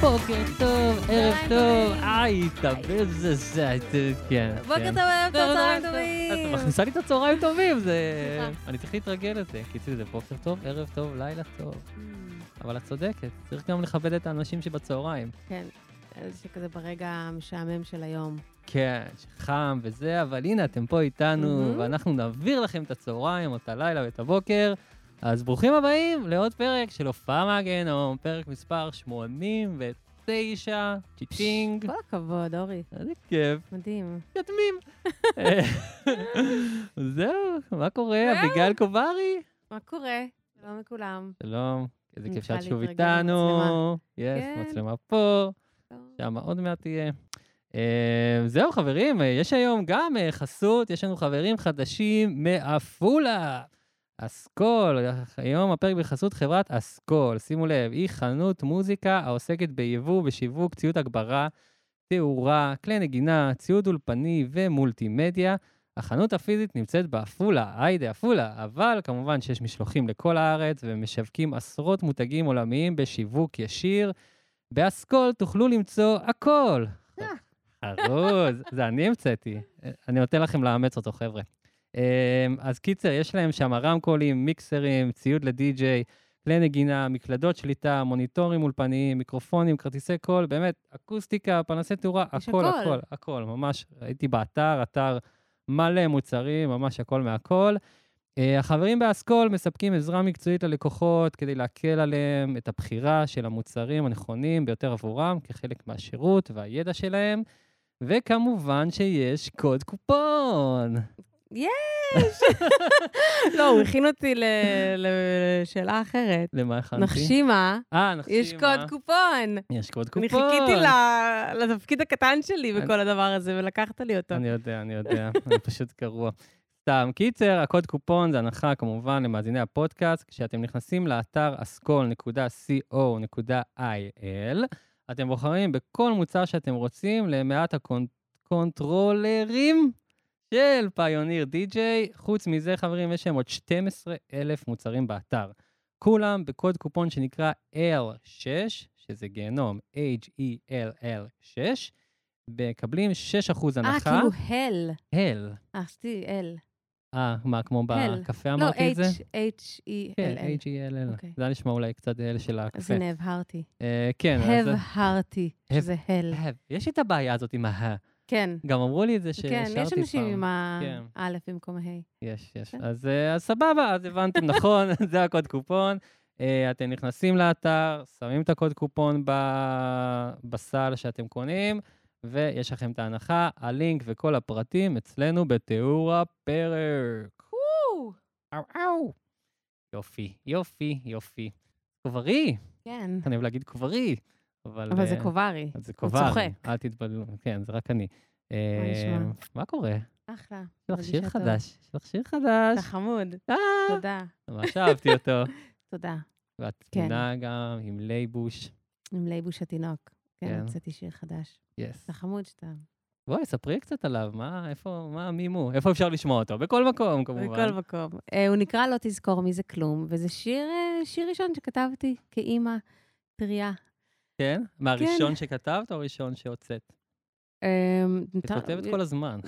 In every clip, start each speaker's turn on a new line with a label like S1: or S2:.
S1: בוקר טוב, ערב
S2: צהריים
S1: טוב,
S2: טובים.
S1: היי, תבל זה זה, את- כן.
S2: בוקר
S1: כן.
S2: טוב, ערב טוב, צהריים
S1: את
S2: טובים.
S1: מכניסה לי את הצהריים טובים, זה...
S2: סליחה.
S1: אני צריך להתרגל לזה. קיצור, זה בוקר טוב, ערב טוב, לילה טוב.
S2: Mm,
S1: אבל את צודקת, צריך גם לכבד את האנשים שבצהריים.
S2: כן, שכזה ברגע המשעמם של היום.
S1: כן, שחם וזה, אבל הנה, אתם פה איתנו,
S2: מהמם.
S1: ואנחנו נעביר לכם את הצהריים, או את הלילה ואת הבוקר. אז ברוכים הבאים לעוד פרק של הופעה מהגיהנום, פרק מספר 89, צ'יצ'ינג.
S2: כל הכבוד, אורי.
S1: איזה כיף,
S2: מדהים.
S1: מתקדמים. אה, זהו, מה קורה? אביגיל קוברי?
S2: מה קורה? שלום לכולם.
S1: שלום, איזה כיף
S2: צריכה
S1: שאת שוב
S2: להתרגל
S1: איתנו.
S2: למצלמה.
S1: יש,
S2: כן.
S1: מצלמה פה.
S2: שלום.
S1: שמה עוד מעט תהיה. אה, זהו, חברים, אה, יש היום גם אה, חסות, יש לנו חברים חדשים מעפולה. אסכול, היום הפרק בחסות חברת אסכול. שימו לב, היא חנות מוזיקה העוסקת ביבוא ושיווק ציוד הגברה, תאורה, כלי נגינה, ציוד אולפני ומולטימדיה. החנות הפיזית נמצאת בעפולה, היידה עפולה, אבל כמובן שיש משלוחים לכל הארץ ומשווקים עשרות מותגים עולמיים בשיווק ישיר. באסכול תוכלו למצוא הכל. חרוז, זה אני המצאתי. אני נותן לכם לאמץ אותו, חבר'ה. אמ, אז קיצר, יש להם שם רמקולים, מיקסרים, ציוד לדי-ג'יי, כלי נגינה, מקלדות שליטה, מוניטורים אולפניים, מיקרופונים, כרטיסי קול, באמת, אקוסטיקה, פנסי תאורה,
S2: יש
S1: הכל,
S2: הכל.
S1: הכל, הכל, ממש. הייתי באתר, אתר מלא מוצרים, ממש הכל מהכל. אה, החברים באסכול מספקים עזרה מקצועית ללקוחות כדי להקל עליהם את הבחירה של המוצרים הנכונים ביותר עבורם כחלק מהשירות והידע שלהם, וכמובן שיש קוד קופון.
S2: לא, הוא הכין אותי ל- ל- לשאלה אחרת.
S1: למה הכנתי?
S2: נחשימה,
S1: אה, נחשימה.
S2: יש קוד קופון.
S1: יש קוד קופון.
S2: אני חיכיתי ל- לתפקיד הקטן שלי
S1: אני-
S2: בכל הדבר הזה, ולקחת לי אותו.
S1: אני יודע, אני יודע, אני פשוט גרוע. סתם. קיצר, הקוד קופון זה הנחה כמובן למאזיני הפודקאסט. כשאתם נכנסים לאתר אסכול.co.il, אתם בוחרים בכל מוצר שאתם רוצים למעט הקונטרולרים של פיוניר די-ג'יי. חוץ מזה, חברים, יש להם עוד 12,000 מוצרים באתר. כולם בקוד קופון שנקרא L6, שזה גיהנום, E H-E-L-L 6, מקבלים 6%
S2: אה,
S1: הנחה.
S2: כאילו הל.
S1: הל.
S2: אה, עשיתי אל.
S1: אה, מה, כמו
S2: הל.
S1: בקפה
S2: לא,
S1: אמרתי את זה?
S2: H, H-E-L-L.
S1: כן, H-E-L-L.
S2: אוקיי.
S1: זה היה נשמע אולי קצת הל של
S2: אז
S1: הקפה.
S2: הנה, הבהרתי.
S1: אה, כן, אז...
S2: הבהרתי,
S1: הב-
S2: שזה הל.
S1: הב. יש לי את הבעיה הזאת עם ה...
S2: כן.
S1: גם אמרו לי את זה ששרתי
S2: כן,
S1: פעם.
S2: יש אנשים עם
S1: כן.
S2: האלף במקום ההי.
S1: יש, יש.
S2: כן.
S1: אז אה, אז סבבה, אז הבנתם נכון, זה הקוד קופון. אה, אתם נכנסים לאתר, שמים את הקוד קופון ב- בסל שאתם קונים, ויש לכם את ההנחה, הלינק וכל הפרטים אצלנו בתיאור הפרק. אאו אאו. יופי, יופי, יופי. קוברי,
S2: כן,
S1: אני אוהב להגיד קוברי, אבל...
S2: אבל זה
S1: אה,
S2: קוברי.
S1: זה
S2: הוא
S1: קובר,
S2: צוחק.
S1: אל תתבלבלו, כן, זה רק אני.
S2: מה נשמע?
S1: אה, מה קורה?
S2: אחלה.
S1: יש לך
S2: מרגישה
S1: שיר
S2: טוב.
S1: חדש, יש לך שיר חדש.
S2: אתה חמוד.
S1: אה,
S2: תודה,
S1: ממש אהבתי אותו.
S2: תודה.
S1: והתמונה גם עם לייבוש.
S2: עם לייבוש התינוק. כן,
S1: כן.
S2: הוצאתי שיר חדש.
S1: יס.
S2: אתה חמוד שאתה...
S1: בואי, ספרי קצת עליו, מה, איפה, מה, מי מו? איפה אפשר לשמוע אותו? בכל מקום, כמובן.
S2: בכל מקום. אה, הוא נקרא לא תזכור מי זה כלום, וזה שיר אה, שיר ראשון שכתבתי כאימא טריה.
S1: כן? מהראשון שכתבת או הראשון שהוצאת?
S2: אה,
S1: את
S2: אתה-
S1: כותבת כל הזמן.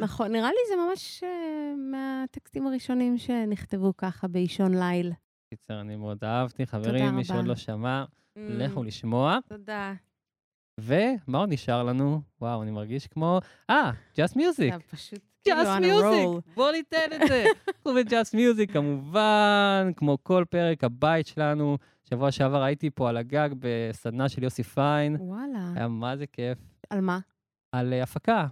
S2: נכון, נראה לי זה ממש אה, מהטקסטים הראשונים שנכתבו ככה באישון ליל.
S1: קיצר, אני מאוד אהבתי. חברים, מי שעוד
S2: רבה.
S1: לא שמע, לכו לשמוע.
S2: Mm, תודה.
S1: ומה עוד נשאר לנו? וואו, אני מרגיש כמו... אה, Just Music.
S2: אתה פשוט כאילו
S1: Just
S2: on a roll.
S1: Music, בוא ניתן את זה. אנחנו ב-Just Music, כמובן, כמו כל פרק הבית שלנו. שבוע שעבר הייתי פה על הגג בסדנה של יוסי פיין.
S2: וואלה.
S1: היה מה זה כיף.
S2: על מה?
S1: על אה, הפקה.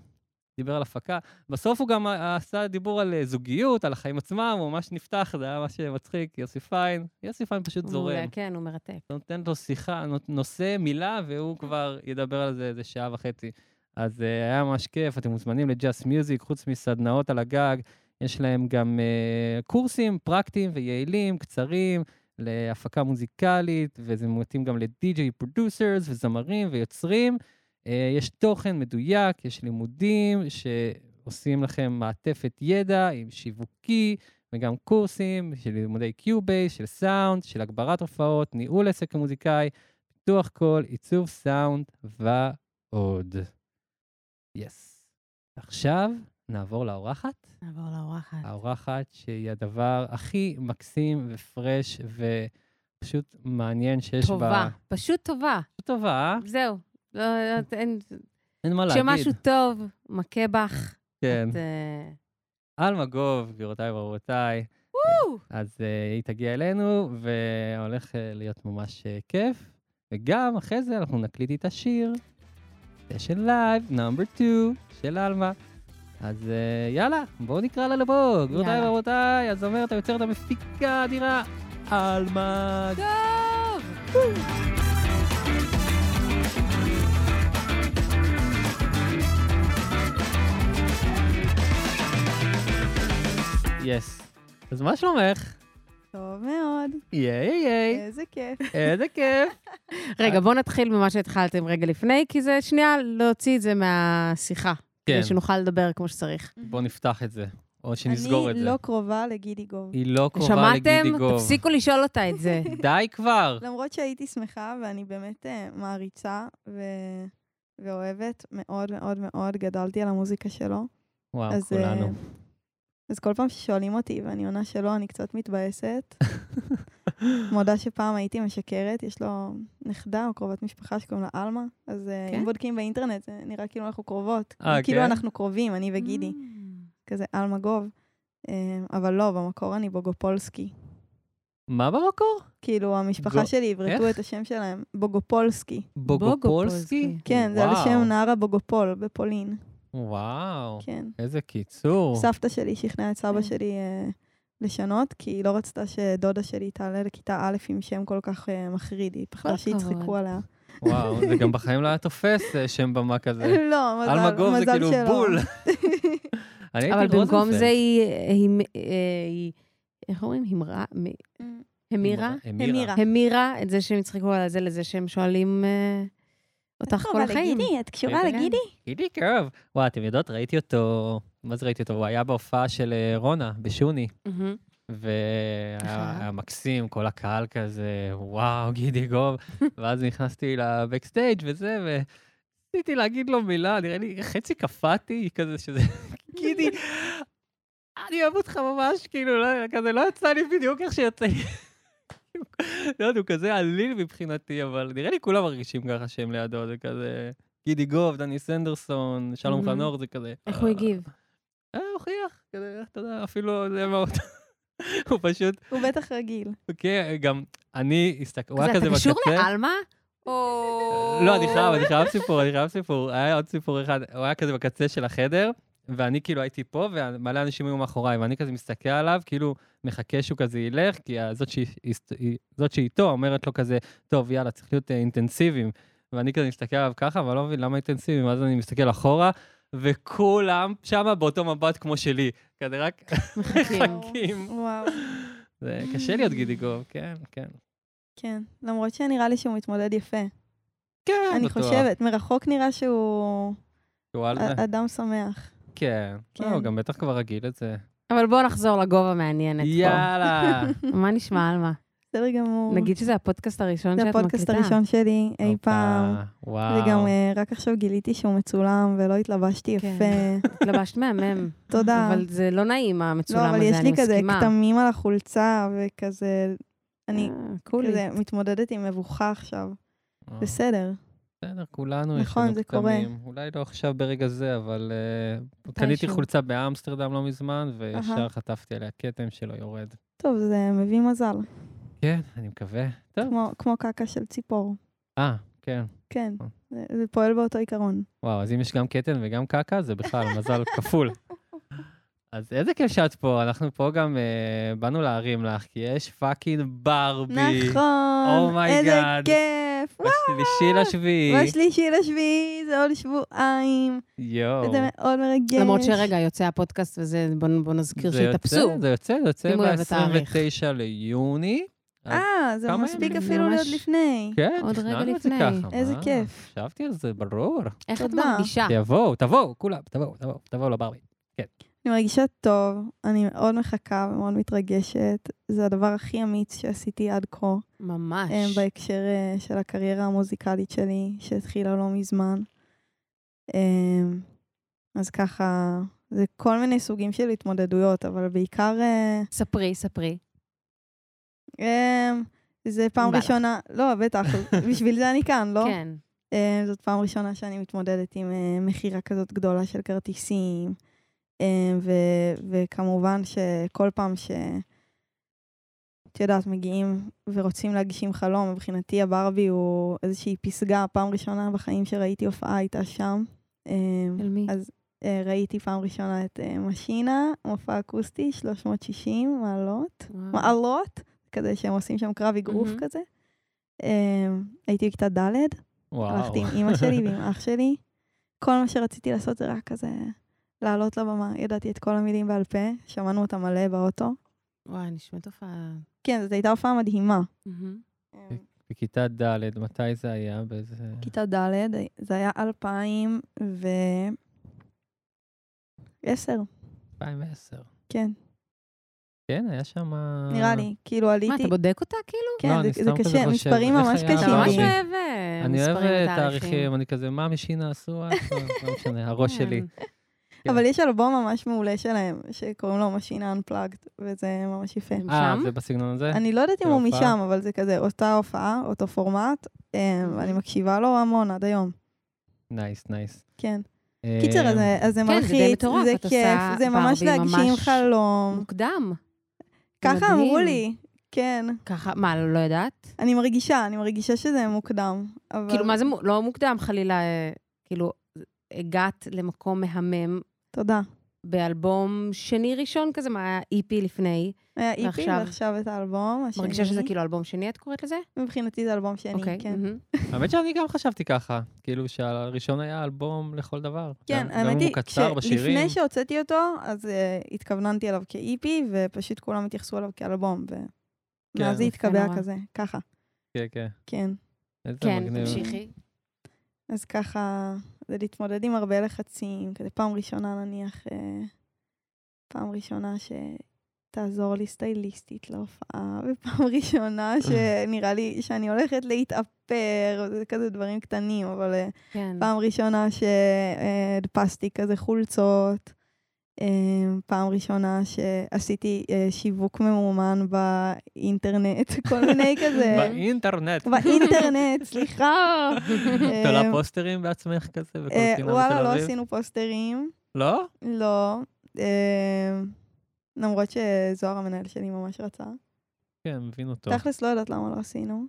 S1: דיבר על הפקה. בסוף הוא גם אה, עשה דיבור על אה, זוגיות, על החיים עצמם, הוא ממש נפתח, זה היה ממש אה, מצחיק, יוסי פיין. יוסי פיין פשוט
S2: הוא
S1: זורם.
S2: מעולה, כן, הוא מרתק.
S1: אתה נותן לו שיחה, נות- נושא, מילה, והוא כבר ידבר על זה איזה שעה וחצי. אז uh, היה ממש כיף, אתם מוזמנים לג'אסט מיוזיק, חוץ מסדנאות על הגג, יש להם גם uh, קורסים פרקטיים ויעילים, קצרים, להפקה מוזיקלית, וזה מתאים גם לדי-ג'יי פרודוסרס וזמרים ויוצרים. Uh, יש תוכן מדויק, יש לימודים שעושים לכם מעטפת ידע עם שיווקי, וגם קורסים של לימודי קיובייס, של סאונד, של הגברת הופעות, ניהול עסק כמוזיקאי, פיתוח קול, עיצוב סאונד ועוד. יס. עכשיו נעבור לאורחת.
S2: נעבור לאורחת.
S1: האורחת שהיא הדבר הכי מקסים ופרש ופשוט מעניין שיש בה.
S2: טובה, פשוט טובה.
S1: טובה.
S2: זהו. לא, לא, אין-
S1: אין מה להגיד.
S2: כשמשהו טוב מכה בך,
S1: כן.
S2: את... אה,
S1: אלמגוב, גבירותיי ורבותיי.
S2: וואו!
S1: אז אה, היא תגיע אלינו, והולך אה, להיות ממש אה, כיף. וגם אחרי זה אנחנו נקליט איתה שיר. סשן לייב, נאמבר 2, של עלמה. אז אה, יאללה, בואו נקרא לה לבוא. גבירותיי
S2: יאללה.
S1: ורבותיי, הזמרת, היוצרת, המפיקה האדירה, עלמה.
S2: טוב!
S1: יס. אז מה שלומך?
S3: טוב מאוד,
S1: ייי ייי,
S3: איזה כיף.
S1: איזה כיף. אה-
S2: רגע, בואו נתחיל ממה שהתחלתם רגע לפני, כי זה שנייה להוציא את זה מהשיחה.
S1: כן,
S2: כדי שנוכל לדבר כמו שצריך.
S1: בואו נפתח את זה, או שנסגור את
S3: אני
S1: זה.
S3: לא קרובה לגידי גוב.
S1: היא לא קרובה
S2: שמעתם?
S1: לגידי גוב.
S2: תפסיקו לשאול אותה את זה.
S1: די כבר.
S3: למרות שהייתי שמחה, ואני באמת אה, מעריצה ו... ואוהבת מאוד מאוד מאוד, גדלתי על המוזיקה שלו.
S1: וואו,
S3: אז, אה,
S1: כולנו.
S3: אז כל פעם ששואלים אותי ואני עונה שלא, אני קצת מתבאסת. מודה שפעם הייתי משקרת, יש לו נכדה או קרובת משפחה שקוראים לה עלמה, אז אה,
S2: כן?
S3: אם בודקים באינטרנט זה נראה כאילו אנחנו קרובות.
S1: אה,
S3: כאילו
S1: כן?
S3: אנחנו קרובים, אני וגידי.
S2: Mm.
S1: Mm.
S3: כזה עלמה גוב. אה, אבל לא, במקור אני בוגופולסקי.
S1: מה במקור?
S3: כאילו, המשפחה
S1: בו-
S3: בו... שלי עברתו
S1: איך?
S3: את השם שלהם, בוגופולסקי.
S1: בוגופולסקי?
S3: כן, זה על
S1: וואו.
S3: שם נערה בוגופול בפולין.
S1: וואו,
S3: כן.
S1: איזה קיצור.
S3: סבתא שלי שכנעה את סבא
S2: כן.
S3: שלי אה, לשנות, כי היא לא רצתה שדודה שלי תעלה לכיתה א' עם שם כל כך אה, מחריד, היא
S2: כל
S3: פחדה שיצחקו
S2: הכבוד.
S3: עליה.
S1: וואו, זה גם בחיים לא היה תופס אה, שם במה כזה.
S3: לא, מזל שלא.
S1: אלמגוב זה כאילו בול. אני הייתי
S2: אבל במקום
S1: ברוזנפלד.
S2: זה היא, היא- אה, היא- איך אומרים? המרה? מ- המירה?
S1: המירה.
S3: המירה.
S2: המירה את זה שהם יצחקו על זה לזה שהם שואלים אה, אותך כל החיים.
S3: את
S1: קשורה
S2: כן. לגידי?
S1: גידי קרב. וואו, אתם יודעות, ראיתי אותו, מה זה ראיתי אותו? הוא היה בהופעה של אה, רונה, בשוני,
S2: מהמם.
S1: והיה
S2: אהה.
S1: היה מקסים, כל הקהל כזה, וואו, גידי גוב. ואז נכנסתי לבקסטייג' וזה, ו... רציתי להגיד לו מילה, נראה לי חצי קפאתי, כזה שזה... גידי, אני אוהב אותך ממש, כאילו, לא, כזה לא יצא לי בדיוק איך שיוצא לי. לא יודע, הוא כזה עליל מבחינתי, אבל נראה לי כולם מרגישים ככה שהם לידו, זה כזה... גידי גוב, דני סנדרסון, שלום
S2: Mhm.
S1: חנוך, זה כזה...
S2: איך הוא הגיב?
S1: אה, הוא חייך, כזה, אתה יודע, אפילו זה מאוד... הוא פשוט,
S3: הוא בטח רגיל.
S1: כן, גם אני הסתכל, הוא
S2: אז
S1: היה כזה
S2: אתה
S1: בקצה.
S2: קשור לעלמה? או...
S1: לא, אני חייב, אני חייב סיפור, אני חייב סיפור. היה עוד סיפור אחד, הוא היה כזה בקצה של החדר, ואני כאילו הייתי פה, ומלא אנשים היו מאחוריי, ואני כזה מסתכל עליו, כאילו מחכה שהוא כזה ילך, כי ה- זאת שהיא- היא- זאת שאיתו אומרת לו כזה, טוב, יאללה, צריך להיות אה, אינטנסיביים. ואני כזה מסתכל עליו ככה, אבל לא מבין למה אינטנסיביים, ואז אני מסתכל אחורה, וכולם שמה באותו מבט כמו שלי. כזה רק
S2: מחכים.
S1: מחכים.
S3: וואו.
S1: זה קשה להיות גידי גוב, כן, כן.
S3: כן, למרות שנראה לי שהוא מתמודד יפה.
S1: כן,
S3: אני
S1: בטוח.
S3: חושבת, אה, מרחוק נראה שהוא
S1: שהוא על זה.
S3: א- אדם שמח.
S1: כן. לא,
S3: כן.
S1: הוא גם בטח כבר רגיל את זה.
S2: אבל בואו נחזור לגובה מעניינת פה.
S1: יאללה.
S2: מה נשמע, עלמה?
S3: בסדר גמור.
S2: נגיד שזה הפודקאסט הראשון
S3: זה
S2: שאת מקליטה.
S3: הפודקאסט הראשון שלי אי
S1: הופה,
S3: פעם.
S1: וואו.
S3: וגם אה, רק עכשיו גיליתי שהוא מצולם ולא התלבשתי
S2: כן.
S3: יפה.
S2: התלבשת מהמם.
S3: תודה.
S2: אבל זה לא נעים, המצולם
S3: לא,
S2: הזה,
S3: אבל
S2: אני
S3: יש לי
S2: מסכימה.
S3: כזה כתמים על החולצה וכזה... אני
S2: אה, קולי.
S3: כזה מתמודדת עם מבוכה עכשיו.
S1: אה,
S3: בסדר.
S1: בסדר, כולנו יש
S3: נכון,
S1: לנו
S3: זה
S1: כתמים. אולי לא עכשיו ברגע זה, אבל אה, קניתי
S2: מתישהו.
S1: חולצה באמסטרדם לא מזמן, וישר
S3: אהה.
S1: חטפתי עליה כתם שלא יורד.
S3: טוב, זה מביא מזל.
S1: כן, אני מקווה. טוב.
S3: כמו- כמו קקה של ציפור.
S1: אה, כן.
S3: כן. זה זה פועל באותו עיקרון.
S1: וואו, אז אם יש גם קטן וגם קקה, זה בכלל מזל כפול. אז איזה כיף שאת פה, אנחנו פה גם אה, באנו להרים לך, כי יש פאקינג ברבי. Oh
S3: נכון. איזה
S1: אומייגאד.
S3: כיף. וואו.
S1: בשלישי לשביעי.
S3: בשלישי לשביעי, זה עוד שבועיים.
S1: יואו.
S3: לא. זה מאוד מרגש.
S2: למרות שרגע, יוצא הפודקאסט וזה, בוא- בוא
S3: כאילו,
S2: נזכיר
S1: זה יוצא-
S2: שהתאפסו.
S1: זה יוצא, זה יוצא
S2: שימו לב לתאריך.
S1: ב-29 ליוני.
S3: אה, זה
S1: כמה
S3: מספיק
S1: ימים?
S3: אפילו
S2: ממש-
S3: להיות לפני.
S1: כן,
S2: עוד רגע
S1: תכננו את זה
S2: לפני.
S1: ככה.
S3: איזה
S1: מה?
S3: כיף. אה.
S1: חשבתי על זה, ברור.
S2: איך את
S3: תודה.
S2: מרגישה?
S1: תבואו, תבואו, כולם, תבואו, תבואו, תבואו לברבי.
S3: אני מרגישה טוב, אני מאוד מחכה ומאוד מתרגשת. זה הדבר הכי אמיץ שעשיתי עד כה,
S2: ממש.
S3: אה, בהקשר אה, של הקריירה המוזיקלית שלי, שהתחילה לא מזמן. אה, אז ככה, זה כל מיני סוגים של התמודדויות, אבל בעיקר... אה,
S2: ספרי, ספרי.
S3: אמ, זה פעם
S2: בא לך.
S3: ראשונה, לא, בטח, בשביל זה אני כאן, לא?
S2: כן.
S3: אמ, זאת פעם ראשונה שאני מתמודדת עם אה, מכירה כזאת גדולה של כרטיסים, אמ, ו- וכמובן שכל פעם ש... את יודעת, מגיעים ורוצים להגשים חלום, מבחינתי הברבי הוא איזושהי פסגה, פעם ראשונה בחיים שראיתי הופעה הייתה שם. אמ,
S2: של מי?
S3: אז- אה, ראיתי פעם ראשונה את אה, משינה, מופע אקוסטי, 360 מעלות.
S2: וואו.
S3: מעלות, כזה שהם עושים שם קרב אגרוף
S2: מהמם.
S3: כזה. אמ, הייתי בכיתה ד',
S1: וואו.
S3: הלכתי עם אימא שלי ועם אח שלי. כל מה שרציתי לעשות זה רק כזה לעלות לבמה. ידעתי את כל המילים בעל פה, שמענו אותה מלא באוטו.
S2: וואי, נשמע תופעה.
S3: כן, זאת הייתה הופעה מדהימה.
S2: מהמם.
S3: אמ,
S1: בכיתה ד', מתי זה היה? באיזה...
S3: כיתה ד', זה היה 2010.
S1: 2010.
S3: כן,
S1: כן, היה שם...
S3: נראה לי. כאילו
S2: מה, אתה
S3: עליתי...
S2: בודק אותה כאילו?
S1: לא,
S3: כן,
S1: אני
S3: זה- זה
S1: סתם כזה
S3: קשה,
S1: חושב,
S3: מספרים
S1: איך
S3: ממש
S1: היה
S2: אתה ממש
S1: ברבי?
S3: קשים.
S2: אוהב אה,
S1: אני אוהב
S2: מספרים
S1: אה,
S2: ותאריכים.
S1: תאריכים, אני כזה, מה משינה עשו? אה, לא משנה, הראש שלי.
S2: כן.
S1: כן.
S3: אבל יש אלבום ממש מעולה שלהם, שקוראים לו משינה Unplugged, וזה ממש יפה.
S2: הם
S1: אה,
S2: שם?
S1: זה בסגנון הזה?
S3: אני לא יודעת אם
S1: של
S3: הוא
S1: ההופעה?
S3: משם, אבל זה כזה אותה הופעה, אותו פורמט, אה,
S2: Mhm.
S3: ואני מקשיבה לו המון עד היום.
S1: נייס, נייס.
S3: כן.
S1: אה,
S3: קיצר, אז זה- אז זה
S2: כן, זה די
S3: מלחיץ,
S2: מטורף,
S3: זה
S2: את עושה
S3: כיף, זה ממש
S2: ברבי
S3: להגשים
S2: ממש
S3: חלום.
S2: מוקדם.
S3: ככה
S2: מדהים.
S3: אמרו לי, כן.
S2: ככה, מה, לא- לא ידעת?
S3: אני מרגישה, אני מרגישה שזה מוקדם. אבל-
S2: כאילו, מה זה, מו- לא מוקדם חלילה, אה, כאילו, הגעת למקום מהמם
S3: תודה.
S2: באלבום שני ראשון כזה, מה היה איפי לפני.
S3: היה איפי,
S2: ועכשיו?
S3: אה, E ועכשיו את האלבום השני.
S2: מרגישה שזה כאילו אלבום שני, את קוראת לזה?
S3: מבחינתי זה אלבום שני,
S2: אוקיי,
S3: כן.
S2: מהמם.
S1: האמת שאני גם חשבתי ככה, כאילו שהראשון היה אלבום לכל דבר.
S3: כן,
S1: גם- גם
S3: האמת
S1: אם
S3: היא,
S1: הוא קצר בשירים.
S3: שלפני שהוצאתי אותו, אז אה, התכווננתי אליו כאיפי, ופשוט כולם התייחסו אליו כאלבום,
S1: כן,
S3: ומאז זה
S1: יפה
S3: התקבע
S2: נורא.
S3: כזה, ככה,
S1: כן, כן.
S3: כן.
S1: איזה
S2: כן,
S1: מגניב.
S2: תמשיכי.
S3: אז ככה, זה להתמודד עם הרבה לחצים, כזה פעם ראשונה נניח, אה, פעם ראשונה שתעזור לי סטייליסטית להופעה, ופעם ראשונה שנראה לי שאני הולכת להתאפר, זה כזה דברים קטנים, אבל אה,
S2: כן.
S3: פעם ראשונה שהדפסתי כזה חולצות, אה, פעם ראשונה שעשיתי אה, שיווק ממומן באינטרנט, כל מיני כזה,
S1: באינטרנט.
S3: באינטרנט, סליחה. אה,
S1: תולה פוסטרים בעצמך כזה, בכל
S3: אה,
S1: פינה בתל אביב?
S3: וואלה, לא עשינו פוסטרים,
S1: לא?
S3: לא. אה, למרות שזוהר המנהל שלי ממש רצה.
S1: כן, מבין אותו.
S3: תכלס לא יודעת למה לא עשינו.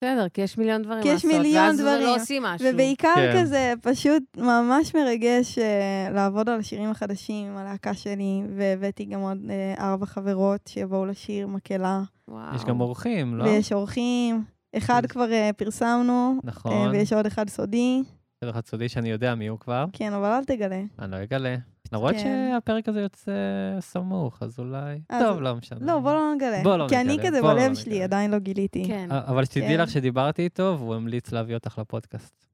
S2: בסדר, כי יש מיליון דברים
S3: כי יש
S2: לעשות.
S3: מיליון
S2: ואז זה לא
S3: דברים.
S2: עושים משהו.
S3: ובעיקר
S1: כן.
S3: כזה, פשוט ממש מרגש אה, לעבוד על השירים החדשים עם הלהקה שלי, והבאתי גם עוד אה, ארבע חברות שיבואו לשיר מקהלה,
S2: וואו.
S1: יש גם אורחים, לא?
S3: ויש אורחים, אחד
S1: אז-
S3: כבר אה, פרסמנו, אה,
S1: נכון.
S3: ויש עוד אחד סודי,
S1: יש אחד סודי שאני יודע מי הוא כבר,
S3: כן, אבל אל תגלה.
S1: אני לא אגלה. למרות
S3: כן.
S1: שהפרק הזה יוצא סמוך, אז אולי...
S3: אז-
S1: טוב, לא משנה.
S3: לא, בוא לא נגלה.
S1: בוא לא
S3: כי אני
S1: נגלה,
S3: כזה
S1: בוא לא
S3: בלב
S1: נגלה.
S3: שלי, עדיין לא גיליתי.
S2: כן.
S1: א- אבל שתדעי
S3: כן.
S1: לך שדיברתי איתו, והוא המליץ להביא אותך לפודקאסט.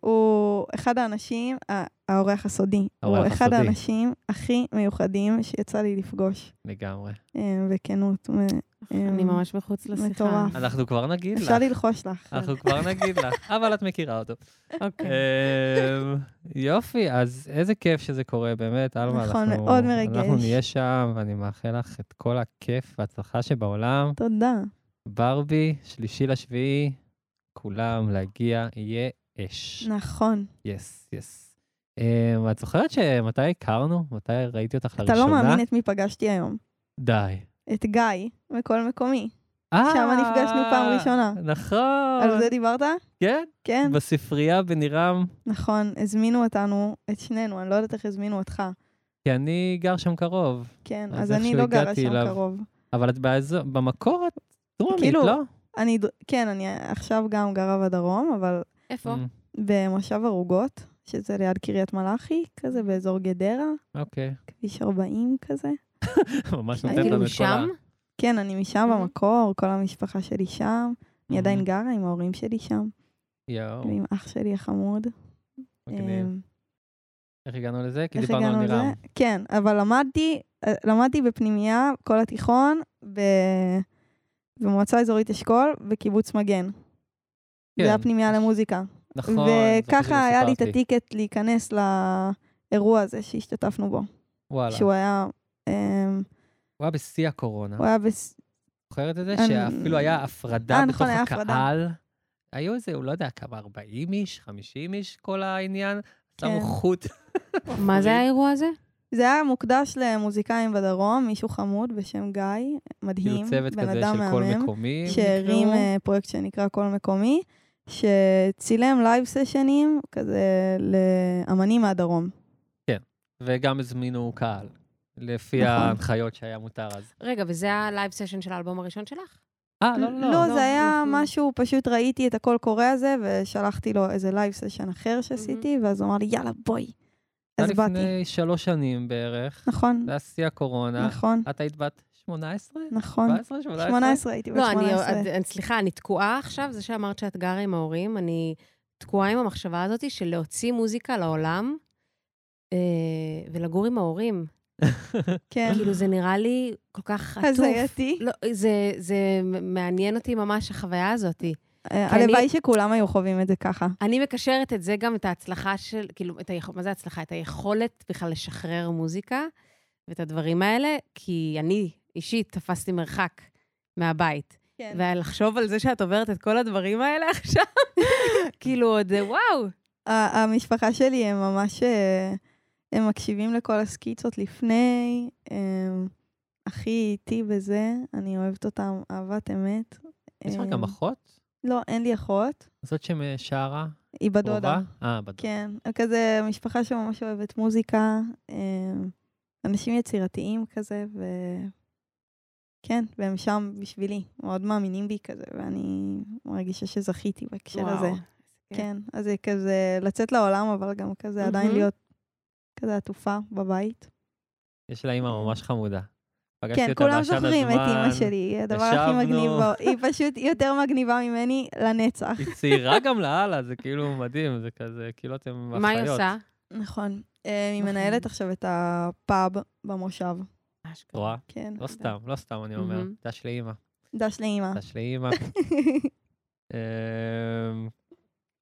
S3: הוא אחד האנשים, ה- האורח הסודי, הוא
S1: האורח
S3: אחד
S1: הסודי.
S3: האנשים הכי מיוחדים שיצא לי לפגוש,
S1: לגמרי.
S3: אה, בכנות. מ-
S2: אני
S3: אמ,
S2: ממש מחוץ לשיחה.
S3: מטורף.
S1: אנחנו כבר נגיד לך.
S3: אפשר ללחוש לך.
S1: אנחנו כבר נגיד לך, אבל את מכירה אותו.
S2: אוקיי.
S1: אמ, יופי, אז איזה כיף שזה קורה, באמת, אלמה.
S3: נכון,
S1: אנחנו-
S3: מאוד מרגש.
S1: אנחנו נהיה שם, ואני מאחל לך את כל הכיף וההצלחה שבעולם.
S3: תודה.
S1: ברבי, שלישי לשביעי, כולם להגיע, יהיה אש.
S3: נכון.
S1: יס, יס. אמ, את זוכרת שמתי הכרנו? מתי ראיתי אותך לראשונה?
S3: אתה לא מאמין את מי פגשתי היום.
S1: די.
S3: את גיא, מקול מקומי.
S1: אה,
S3: שם נפגשנו פעם ראשונה. על
S1: נכון.
S3: זה דיברת?
S1: כן,
S3: כן.
S1: בספרייה בנירם,
S3: נכון, הזמינו אותנו, את שנינו, אני לא יודעת איך הזמינו אותך.
S1: כי אני גר שם קרוב.
S3: כן,
S1: אז
S3: אז אני
S1: איכשהו
S3: לא גרה
S1: הגעתי
S3: שם
S1: אליו.
S3: קרוב.
S1: אבל את באזור, במקור את דרומית,
S3: כאילו,
S1: לא?
S3: אני, ד- כן, אני עכשיו גם גרה בדרום, אבל
S2: איפה?
S1: אמ,
S3: במושב ערוגות, שזה ליד קריית מלאכי, כזה באזור גדרה,
S1: אוקיי.
S3: כביש 40 כזה.
S1: ממש נותנת
S2: כאילו
S1: לנו את כל ה...
S2: משם?
S3: כן, אני משם
S2: Mhm.
S3: במקור, כל המשפחה שלי שם. אני עדיין
S1: Mhm.
S3: גרה עם ההורים שלי שם,
S1: יואו,
S3: ועם אח שלי החמוד.
S1: מגניב.
S3: אמ,
S1: איך הגענו לזה? כי
S3: אה, איך
S1: דיברנו על
S3: הגענו לזה?
S1: נירם.
S3: כן, אבל למדתי, אה, למדתי בפנימייה כל התיכון, ב... במועצה אזורית אשכול, בקיבוץ מגן. כן.
S1: כן,
S3: זה היה פנימייה למוזיקה.
S1: נכון. זוכר
S3: וככה היה לי את
S1: שסיפרת
S3: הטיקט להיכנס לאירוע הזה שהשתתפנו בו.
S1: וואלה.
S3: שהוא היה... אמ,
S1: הוא היה בשיא הקורונה.
S3: הוא היה בס...
S1: זוכרת את זה?
S3: אני-
S1: שאפילו היה הפרדה
S3: אה,
S1: בתוך
S3: נכון, היה הפרדה.
S1: הקהל. היו איזה, הוא לא יודע, כמה 40 איש, 50 איש, כל העניין. שמו
S3: כן.
S1: חוט. כאילו,
S2: מה זה
S1: מפריד.
S2: האירוע הזה?
S3: זה היה מוקדש למוזיקאים בדרום, מישהו חמוד בשם גיא, מדהים,
S1: כאילו צוות
S3: בן
S1: כזה
S3: אדם
S1: של קול
S3: מהמם,
S1: מקומי.
S3: שהרים
S2: נקראו?
S3: אה, פרויקט שנקרא קול מקומי, שצילם לייב סשנים כזה לאמנים מהדרום.
S1: אה, וגם הזמינו קהל, לפי
S3: נכון.
S1: ההנחיות שהיה מותר אז.
S2: רגע, וזה הלייב סשן של האלבום הראשון שלך?
S1: אה, לא, לא, לא.
S3: לא, זה היה
S2: אנחנו-
S3: משהו, פשוט ראיתי את הקול קורא הזה, ושלחתי לו איזה לייב סשן אחר שעשיתי, ואז הוא אמר לי, יאללה, בואי.
S1: זה
S3: אז
S1: היה
S3: באתי.
S1: לפני שלוש שנים בערך,
S3: נכון,
S1: זה היה שיא הקורונה.
S3: נכון,
S1: את היית בת 18?
S3: נכון.
S1: 17? 18?
S3: 18 הייתי בת
S2: לא, אני,
S3: 18.
S2: את- את- סליחה, אני תקועה עכשיו, זה שאמרת שאת גרה עם ההורים, אני תקועה עם המחשבה הזאת של להוציא מוזיקה לעולם אה, ולגור עם ההורים.
S3: כן.
S2: כאילו, זה נראה לי כל כך עטוף.
S3: הזייתי.
S2: לא, זה, זה מעניין אותי ממש, החוויה הזאת.
S3: אה,
S2: כי אני-
S3: הלוואי שכולם היו חווים את זה ככה.
S2: אני מקשרת את זה גם, את ההצלחה של, כאילו, את היכול, מה זה הצלחה? את היכולת בכלל לשחרר מוזיקה ואת הדברים האלה, כי אני אישית תפסתי מרחק מהבית.
S3: כן.
S2: ולחשוב על זה שאת עוברת את כל הדברים האלה עכשיו, כאילו עוד, אה, וואו.
S3: ה- המשפחה שלי הם ממש, אה, הם מקשיבים לכל הסקיצות לפני, הם הכי איתי בזה, אני אוהבת אותם אהבת אמת.
S1: יש לך
S3: אה,
S1: גם אחות?
S3: לא, אין לי אחות,
S1: זאת ששרה?
S3: היא
S1: קרובה?
S3: בדודה.
S1: אה, בדודה.
S3: כן, כזה משפחה שממש אוהבת מוזיקה, אה, אנשים יצירתיים כזה, ו... כן, והם שם בשבילי, מאוד מאמינים בי כזה, ואני מרגישה שזכיתי בהקשר הזה. כן, אז זה כזה לצאת לעולם, אבל גם כזה עדיין
S2: מהמם.
S3: להיות כזה עטופה בבית.
S1: יש לה אימא ממש חמודה. פגשתי
S3: כן,
S1: אותה
S3: כולם
S1: בעשן
S3: זוכרים את אימא
S1: הזמן.
S3: שלי, היא הדבר הכי מגניב.
S1: ישבנו.
S3: בעו- היא פשוט היא יותר מגניבה ממני לנצח.
S1: היא צעירה גם לאללה, זה כאילו מדהים, זה כזה, כאילו אתם אחיות.
S2: מה היא עושה?
S3: נכון. אה, היא
S2: נכון.
S3: מנהלת עכשיו את הפאב במושב,
S1: את רואה?
S3: כן.
S1: לא סתם, לא סתם אני אומר.
S2: מהמם.
S1: דש לאימא,
S3: דש לאימא.
S1: דש לאימא. אמ,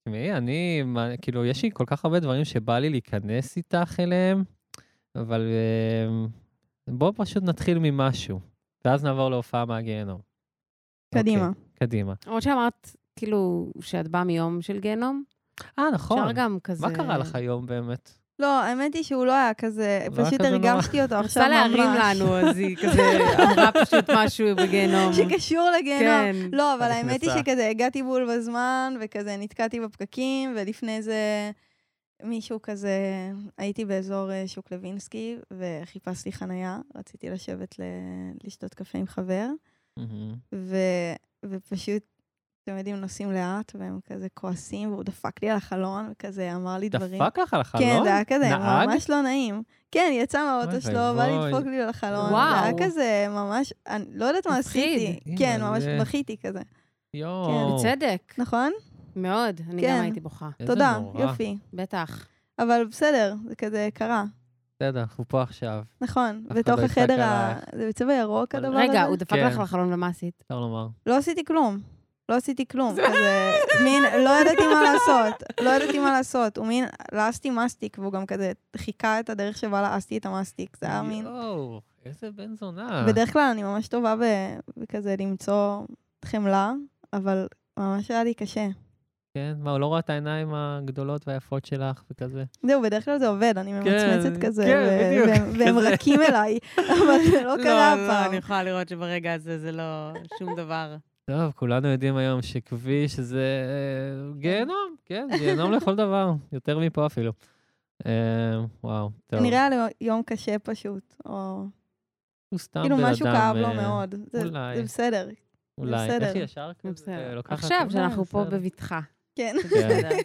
S1: תשמעי, אני, מה- כאילו, יש לי כל כך הרבה דברים שבא לי להיכנס איתך אליהם, אבל אמ, בואו פשוט נתחיל ממשהו, ואז נעבור להופעה מהגיהנום.
S3: קדימה.
S1: אוקיי, קדימה.
S2: למרות שאמרת, כאילו, שאת באה מיום של גיהנום,
S1: אה, נכון.
S2: אפשר גם כזה...
S1: מה קרה לך היום באמת?
S3: לא, האמת היא שהוא לא היה כזה,
S1: לא היה
S3: פשוט
S1: כזה נורא.
S3: הרגשתי אותו עכשיו
S2: רצה
S3: ממש.
S2: להרים לנו, אז היא כזה אמרה פשוט משהו בגיהנום.
S3: שקשור לגיהנום.
S2: כן.
S3: לא, אבל
S1: את
S3: האמת היא
S1: נכנסה.
S3: שכזה הגעתי בול בזמן, וכזה נתקעתי בפקקים, ולפני זה מישהו כזה, הייתי באזור אה, שוק לוינסקי, וחיפשתי חנייה, רציתי לשבת ל... לשתות קפה עם חבר,
S1: מהמם.
S3: ו... ופשוט, אתם יודעים, נוסעים לאט, והם כזה כועסים, והוא דפק לי על החלון, וכזה אמר לי דברים.
S1: דפק לך לא? על החלום?
S3: כן, זה היה כזה,
S1: נהג?
S3: ממש לא נעים. כן, יצא
S1: אוי
S3: מהאוטו שלו, בא
S1: ואבוי.
S3: לדפוק לי על החלון. זה היה
S2: וואו.
S3: כזה ממש, אני לא יודעת מה
S2: מפחיד.
S3: עשיתי.
S1: אימא,
S3: כן, ממש
S1: זה-
S3: בכיתי כזה. לא.
S1: יואו,
S2: בצדק,
S3: נכון?
S2: מאוד. אני
S3: כן.
S2: גם הייתי בוכה,
S1: איזה
S3: תודה,
S1: נורא.
S3: יופי.
S2: בטח.
S3: אבל בסדר, זה כזה קרה.
S1: בסדר, אנחנו פה עכשיו,
S3: נכון,
S1: אחד
S3: בתוך
S1: לא יצעק
S3: החדר ה...
S1: עלייך.
S3: זה בצבע ירוק הדבר הזה?
S2: רגע, הוא דפק
S1: כן.
S2: לך על החלון ומה עשית?
S1: אפשר לומר.
S3: לא עשיתי כלום. לא עשיתי כלום. כזה, מין, לא ידעתי מה לעשות. לא ידעתי מה לעשות. הוא מין, לעסתי מסטיק, והוא גם כזה חיכה את הדרך שבה לעסתי את המסטיק. זה היה מין...
S1: יואו, איזה בן זונה.
S3: בדרך כלל אני ממש טובה ב- בכזה למצוא חמלה, אבל ממש היה לי קשה.
S1: כן, מה, הוא לא ראה את העיניים הגדולות והיפות שלך וכזה?
S3: זהו, בדרך כלל זה עובד, אני ממצמצת כזה,
S1: כן,
S3: ו-
S1: בדיוק,
S3: והם- והם
S1: כזה.
S3: רכים אליי, אבל זה לא קרה הפעם.
S2: יכולה לראות שברגע הזה זה לא שום דבר.
S1: טוב, כולנו יודעים היום שכביש זה אה, גיהנום, כן, גיהנום לכל דבר, יותר מפה אפילו. אה, וואו, טוב.
S3: כנראה היה לו יום קשה פשוט, או
S1: הוא סתם
S3: כאילו
S1: בן
S3: משהו
S1: אדם,
S3: כאב לו
S1: אה,
S3: מאוד. זה-
S1: אולי.
S3: זה בסדר,
S1: אולי, איך
S3: בסדר.
S1: ישר כזה אה, לוקחת...
S2: אוקיי, עכשיו,
S1: אולי,
S2: שאנחנו פה
S1: בסדר.
S2: בבטחה.
S3: כן.
S1: כן.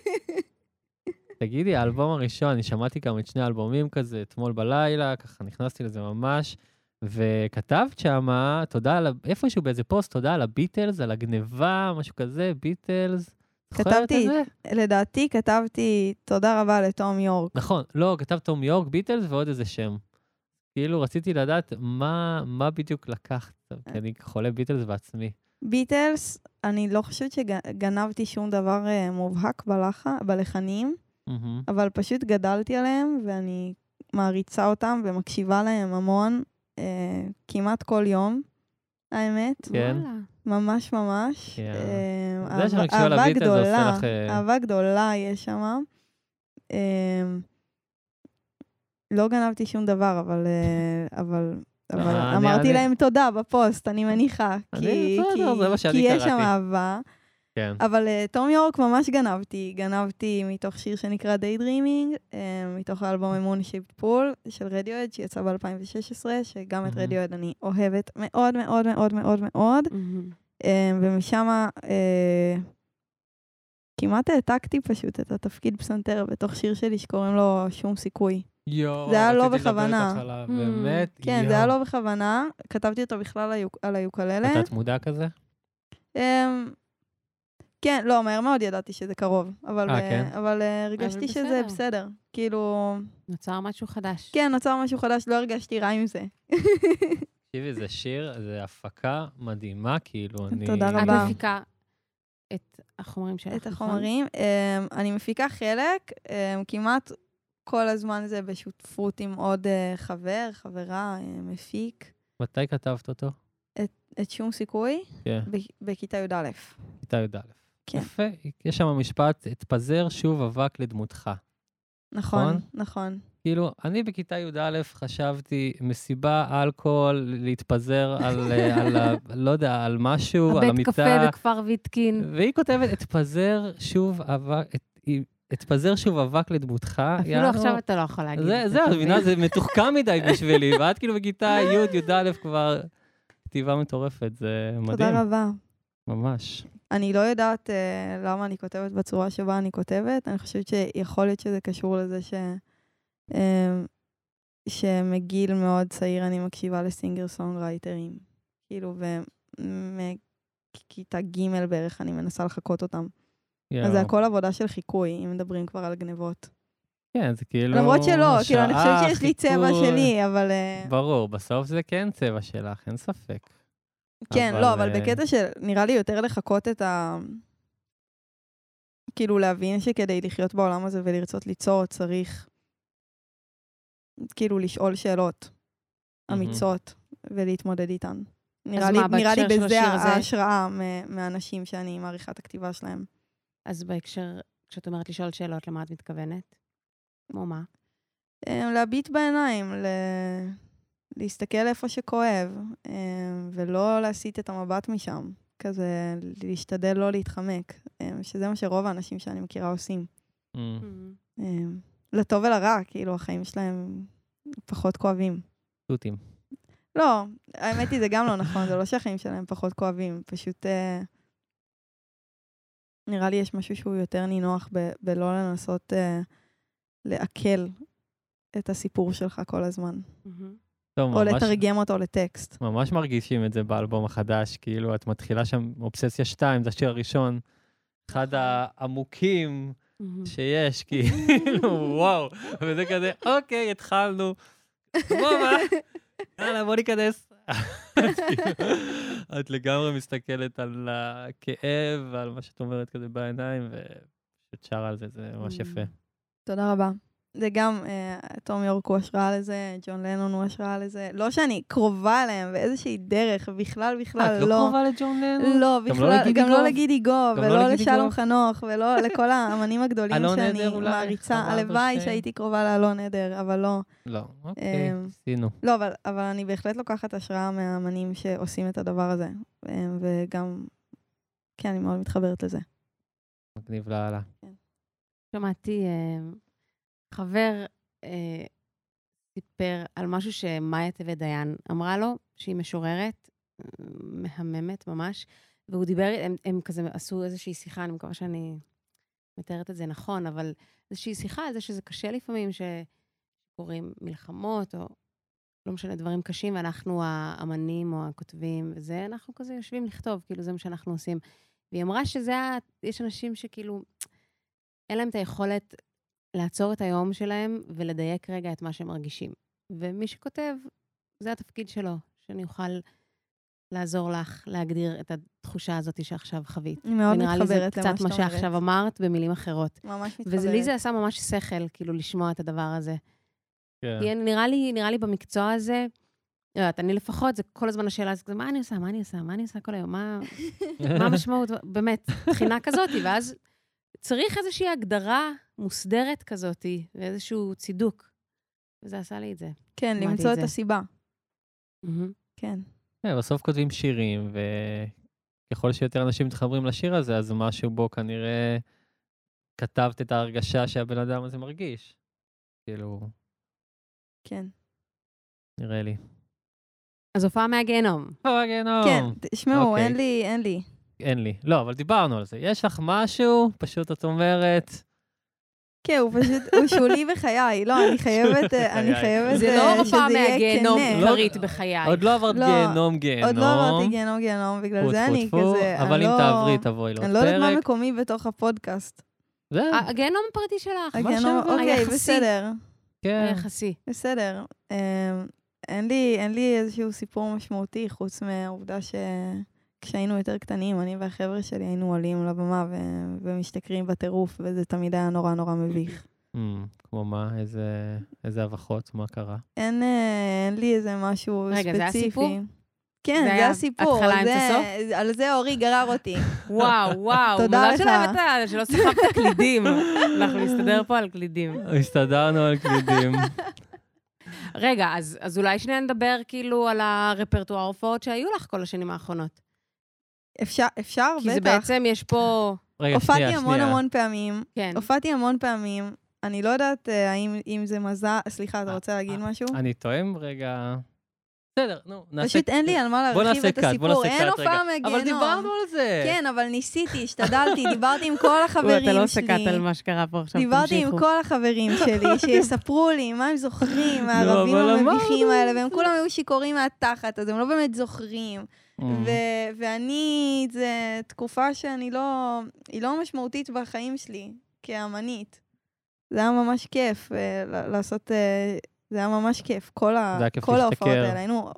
S1: תגידי, האלבום הראשון, אני שמעתי גם את שני האלבומים כזה אתמול בלילה, ככה נכנסתי לזה ממש, וכתבת שמה, תודה על, ה- איפשהו באיזה פוסט, תודה על הביטלס, על הגניבה, משהו כזה, ביטלס, זוכרת
S3: כתבתי-
S1: את זה?
S3: לדעתי כתבתי תודה רבה לתום יורק.
S1: נכון, לא, כתב תום יורק, ביטלס ועוד איזה שם. כאילו, רציתי לדעת מה, מה בדיוק לקחת, כי אני חולה ביטלס בעצמי.
S3: ביטלס, אני לא חושבת שגנבתי שום דבר אה, מובהק בלח... בלחנים,
S1: מהמם.
S3: אבל פשוט גדלתי עליהם, ואני מעריצה אותם ומקשיבה להם המון, אה, כמעט כל יום, האמת.
S1: כן.
S2: וואלה.
S3: ממש ממש.
S1: כן.
S3: אה,
S1: זה
S3: אהבה-
S1: שמקשיבה
S3: אהבה
S1: לביטלס, זה עושה
S3: גדולה,
S1: לך, אה,
S3: אהבה גדולה יש שם. לא גנבתי שום דבר, אבל... אה, אבל... אבל
S1: לא, אני-
S3: אמרתי
S1: אני-
S3: להם תודה בפוסט, אני מניחה.
S1: אני-
S3: כי,
S1: בסדר,
S3: כי,
S1: זה מה שאני
S3: כי יש שם
S1: קראתי.
S3: אהבה.
S1: כן.
S3: אבל אה, תום יורק ממש גנבתי. גנבתי מתוך שיר שנקרא Daydreaming, אה, מתוך האלבום אמון שיפט פול של רדיואד, שיצא ב-2016, שגם את
S1: מהמם.
S3: רדיואד אני אוהבת מאוד מאוד מאוד מאוד מאוד.
S2: מהמם.
S3: אה, ומשם אה, כמעט העתקתי פשוט את התפקיד פסנתר בתוך שיר שלי שקוראים לו שום סיכוי.
S1: יואו,
S3: זה היה לא
S1: רציתי לדבר
S3: בכוונה.
S1: איתך עליו,
S2: Mm.
S1: באמת,
S3: כן, זה היה לא בכוונה, כתבתי אותו בכלל ליוק- על היוקללה.
S1: אתה מודע כזה?
S3: אה, כן, לא, מהר מאוד ידעתי שזה קרוב, אבל,
S1: אה,
S3: אה,
S1: כן?
S3: אבל אה, הרגשתי שזה
S2: בסדר.
S3: בסדר. כאילו,
S2: נוצר משהו חדש.
S3: כן, נוצר משהו חדש, לא הרגשתי רע עם זה.
S1: אה, תקשיבי, זה שיר, זה הפקה מדהימה, כאילו, אני...
S3: תודה
S2: את
S3: רבה.
S2: מפיקה את החומרים שלך,
S3: את
S2: נכון?
S3: החומרים. אמ, אני מפיקה חלק, אמ, כמעט כל הזמן זה בשותפות עם עוד אה, חבר, חברה, אה, מפיק,
S1: מתי כתבת אותו?
S3: את שום סיכוי,
S1: כן,
S3: ב- בכיתה י"א. נכון,
S1: כיתה י"א.
S3: כן.
S1: יפה, יש שם משפט, התפזר שוב אבק לדמותך.
S3: נכון,
S1: נכון.
S3: נכון.
S1: כאילו, אני בכיתה י"א חשבתי, מסיבה, אלכוהול, להתפזר על, אה, על ה, לא יודע, על משהו, על
S2: הבית
S1: המיטה.
S2: קפה בכפר ויטקין.
S1: והיא כותבת, אתפזר שוב אבק, את- היא- אתפזר שוב אבק לדמותך.
S2: אפילו
S1: יענו,
S2: עכשיו אתה לא יכול להגיד.
S1: אה, זה,
S2: את
S1: זה, את
S2: אתה
S1: מבינה,
S2: מבין?
S1: זה מתוחכם מדי בשבילי, ואת כאילו בכיתה י', י"א כבר כתיבה מטורפת, זה מדהים,
S3: תודה רבה.
S1: ממש.
S3: אני לא יודעת אה, למה אני כותבת בצורה שבה אני כותבת, אני חושבת שיכול להיות שזה קשור לזה ש... אמ, שמגיל מאוד צעיר אני מקשיבה לסינגר סונג רייטרים. כאילו, ומכיתה ג' בערך אני מנסה לחקות אותם. אז זה
S1: יואו.
S3: הכל עבודה של חיקוי, אם מדברים כבר על גנבות.
S1: כן, זה כאילו...
S3: למרות שלא, כאילו, אני
S1: שעה,
S3: חושבת שיש לי צבע
S1: חיתול.
S3: שלי, אבל... אה,
S1: ברור, בסוף זה כן צבע שלך, אין ספק.
S3: כן,
S1: אבל,
S3: לא, אבל
S1: אה,
S3: בקטע של נראה לי יותר לחקות את ה... כאילו להבין שכדי לחיות בעולם הזה ולרצות ליצור צריך כאילו לשאול שאלות אמיצות ולהתמודד איתן. נראה לי,
S2: מה,
S3: נראה לי
S2: בהקשר של
S3: בזה
S2: השיר הזה?
S3: ההשראה מ- מהאנשים שאני מעריכה את הכתיבה שלהם.
S2: אז בהקשר, כשאת אומרת לשאול שאלות, למה את מתכוונת? כמו מה?
S3: אה, להביט בעיניים, ל- להסתכל איפה שכואב, אה, ולא להסיט את המבט משם. כזה, להשתדל לא להתחמק, אה, שזה מה שרוב האנשים שאני מכירה עושים.
S1: Mm.
S3: אה, לטוב ולרע, כאילו, החיים שלהם פחות כואבים.
S1: תותים.
S3: לא, האמת היא, זה גם לא נכון, זה לא שהחיים שלהם פחות כואבים, פשוט... אה, נראה לי יש משהו שהוא יותר נינוח ב- בלא לנסות אה, לעכל את הסיפור שלך כל הזמן.
S2: מהמם.
S1: טוב,
S3: או
S1: ממש-
S3: לתרגם אותו לטקסט.
S1: ממש מרגישים את זה באלבום החדש, כאילו, את מתחילה שם אובססיה 2, זה השיר הראשון, אחד
S2: נכון.
S1: העמוקים
S2: מהמם.
S1: שיש, כאילו, וואו, וזה כזה, אוקיי, התחלנו, סבבה, יאללה, בוא ניכנס. את כאילו- את לגמרי מסתכלת על הכאב ועל מה שאת אומרת כזה בעיניים, ופשוט שרה על זה, זה ממש יפה.
S3: אה, תודה רבה. זה גם, אה, תום יורק הוא השראה לזה, ג'ון לנון הוא השראה לזה. לא שאני קרובה אליהם באיזושהי דרך, בכלל
S1: אה,
S3: בכלל
S1: את
S3: לא.
S1: לא קרובה לג'ון לנון?
S3: לא,
S1: לא
S3: בכלל,
S1: לגידי
S3: גם לא
S1: גוב?
S3: לגידי גוב,
S1: גם לא
S3: ולא
S1: לגידי
S3: לשלום
S1: גוב?
S3: חנוך, ולא לכל האמנים הגדולים
S1: אלון
S3: שאני
S1: עדר אולי?
S3: מעריצה.
S1: חווה
S3: הלוואי
S1: אדלשטיין?
S3: שהייתי קרובה לאלון עדר, אבל לא.
S1: לא, אוקיי,
S3: אמ,
S1: עשינו.
S3: לא, אבל, אבל אני בהחלט לוקחת השראה מהאמנים שעושים את הדבר הזה. אה, וגם, כן, אני מאוד מתחברת לזה.
S1: מגניב לאללה.
S2: שמעתי, אה, חבר אה, סיפר על משהו שמאיה טבת דיין אמרה לו, שהיא משוררת, אה, מהממת ממש, והוא דיבר, הם, הם כזה עשו איזושהי שיחה, אני מקווה שאני מתארת את זה נכון, אבל איזושהי שיחה על זה שזה קשה לפעמים, שקורים מלחמות, או לא משנה, דברים קשים, ואנחנו האמנים או הכותבים, וזה, אנחנו כזה יושבים לכתוב, כאילו זה מה שאנחנו עושים. והיא והיא אמרה שזה ה... יש אנשים שכאילו, אין להם את היכולת לעצור את היום שלהם ולדייק רגע את מה שהם מרגישים. ומי שכותב, זה התפקיד שלו, שאני אוכל לעזור לך להגדיר את התחושה הזאת שעכשיו חווית.
S3: אני מאוד
S2: ונראה לי זה
S3: מתחברת למה
S2: קצת מה
S3: שאת אומרת.
S2: שעכשיו אמרת במילים אחרות.
S3: ממש מתחברת.
S2: ולי זה עשה ממש שכל, כאילו, לשמוע את הדבר הזה.
S1: כן.
S2: כי נראה לי, נראה לי במקצוע הזה, לא יודעת, אני לפחות, זה כל הזמן השאלה הזאת, מה אני עושה, מה אני עושה, מה אני עושה כל היום, מה,
S3: כן.
S2: מה המשמעות, באמת, בחינה כזאת, ואז צריך איזושהי הגדרה מוסדרת כזאת, ואיזשהו צידוק. וזה עשה לי את זה.
S3: כן,
S2: אמרתי
S3: למצוא
S2: את
S3: את
S2: זה.
S3: הסיבה.
S2: מהמם.
S3: כן.
S1: כן, בסוף כותבים שירים, וככל שיותר אנשים מתחברים לשיר הזה, אז משהו בו כנראה כתבת את ההרגשה שהבן אדם הזה מרגיש. כאילו,
S3: כן.
S1: נראה לי.
S2: אז הופעה מהגיהנום.
S1: אה, גיהנום.
S3: כן, תשמעו,
S1: אוקיי.
S3: אין לי, אין לי.
S1: אין לי. לא, אבל דיברנו על זה. יש לך משהו, פשוט את אומרת,
S3: כן, הוא פשוט, הוא שולי בחיי. לא, אני חייבת, אה, אני
S1: בחיי.
S3: חייבת
S2: זה
S3: אה,
S2: לא
S3: שזה
S2: הופעה
S3: יהיה כן, אה.
S2: מהגיהנום
S3: כנה.
S2: עיקרית בחיי.
S1: עוד לא עברת
S3: לא,
S1: גיהנום, לא. גיהנום.
S3: עוד לא עברתי גיהנום גיהנום, בגלל
S1: טפו,
S3: זה
S1: טפו,
S3: אני
S1: טפו,
S3: כזה,
S1: אבל
S3: אני
S1: אם
S3: לא-
S1: תעברי, תבואי לעוד פרק.
S3: אני לא יודעת מה אה, מקומי בתוך הפודקאסט.
S1: זהו,
S2: הגיהנום הפרטי שלך,
S3: הגיהנום,
S1: שווה?
S3: אוקיי,
S2: היחסי.
S3: בסדר.
S1: כן.
S2: היחסי.
S3: בסדר. אמ, אין לי, אין לי איזשהו סיפור משמעותי, חוץ מהעובדה שכשהיינו יותר קטנים, אני והחבר'ה שלי היינו עולים לבמה ו... ומשתכרים בטירוף, וזה תמיד היה נורא נורא מביך.
S1: אמ, כמו מה, איזה- איזה הבחות, מה קרה?
S3: אין, אה, אין לי איזה משהו
S2: רגע, זה
S3: ספציפי.
S2: היה סיפור?
S3: כן,
S2: זה
S3: זה
S2: היה
S3: היה סיפור.
S2: התחלה, אמצע,
S3: זה- על זה אורי גרר אותי.
S2: וואו, וואו.
S3: תודה
S2: מזל
S3: לך.
S2: שלא הבאת- שלא סחבת קלידים. אנחנו נסתדר פה על קלידים.
S1: הסתדרנו על גלידים.
S2: רגע, אז, אז אולי שנייה נדבר כאילו על הרפרטואר הופעות שהיו לך כל השנים האחרונות.
S3: אפשר, אפשר?
S2: כי זה
S3: בטח.
S2: בעצם יש פה...
S1: רגע, שנייה,
S3: הופעתי המון
S1: שנייה.
S3: המון פעמים.
S2: כן.
S3: הופעתי המון פעמים. אני לא יודעת אה, האם אם זה מזל... סליחה, אתה
S1: אה,
S3: רוצה להגיד
S1: אה,
S3: משהו?
S1: אני תואם רגע. בסדר, נו, נעשה...
S3: פשוט אין לי על מה
S1: בוא
S3: להרחיב
S1: נעשה
S3: את
S1: קאט, בוא
S3: הסיפור.
S1: נעשה
S3: אין
S1: קאט רגע.
S3: הופעה
S1: אבל דיברנו
S3: מהגיהנום.
S1: על זה.
S3: כן, אבל ניסיתי, השתדלתי, דיברתי עם כל
S2: וואי, אתה לא
S3: החברים שלי.
S2: שקעת על מה שקרה פה עכשיו,
S3: דיברתי עם
S2: תמשיכו.
S3: כל החברים שלי, שיספרו לי מה הם זוכרים מהערבים
S1: לא, אבל
S3: המביכים
S1: אמרנו.
S3: האלה, והם כולם היו שיכורים מהתחת, אז הם לא באמת זוכרים.
S1: Mm.
S3: ו- ואני, זו תקופה שאני לא... היא לא משמעותית בחיים שלי, כאמנית. זה היה ממש כיף אה, ל- לעשות... אה, זה היה ממש כיף, כל ה-
S1: זה היה כיף
S3: כל ההופעות
S1: להשתכר.
S3: האלה. היינו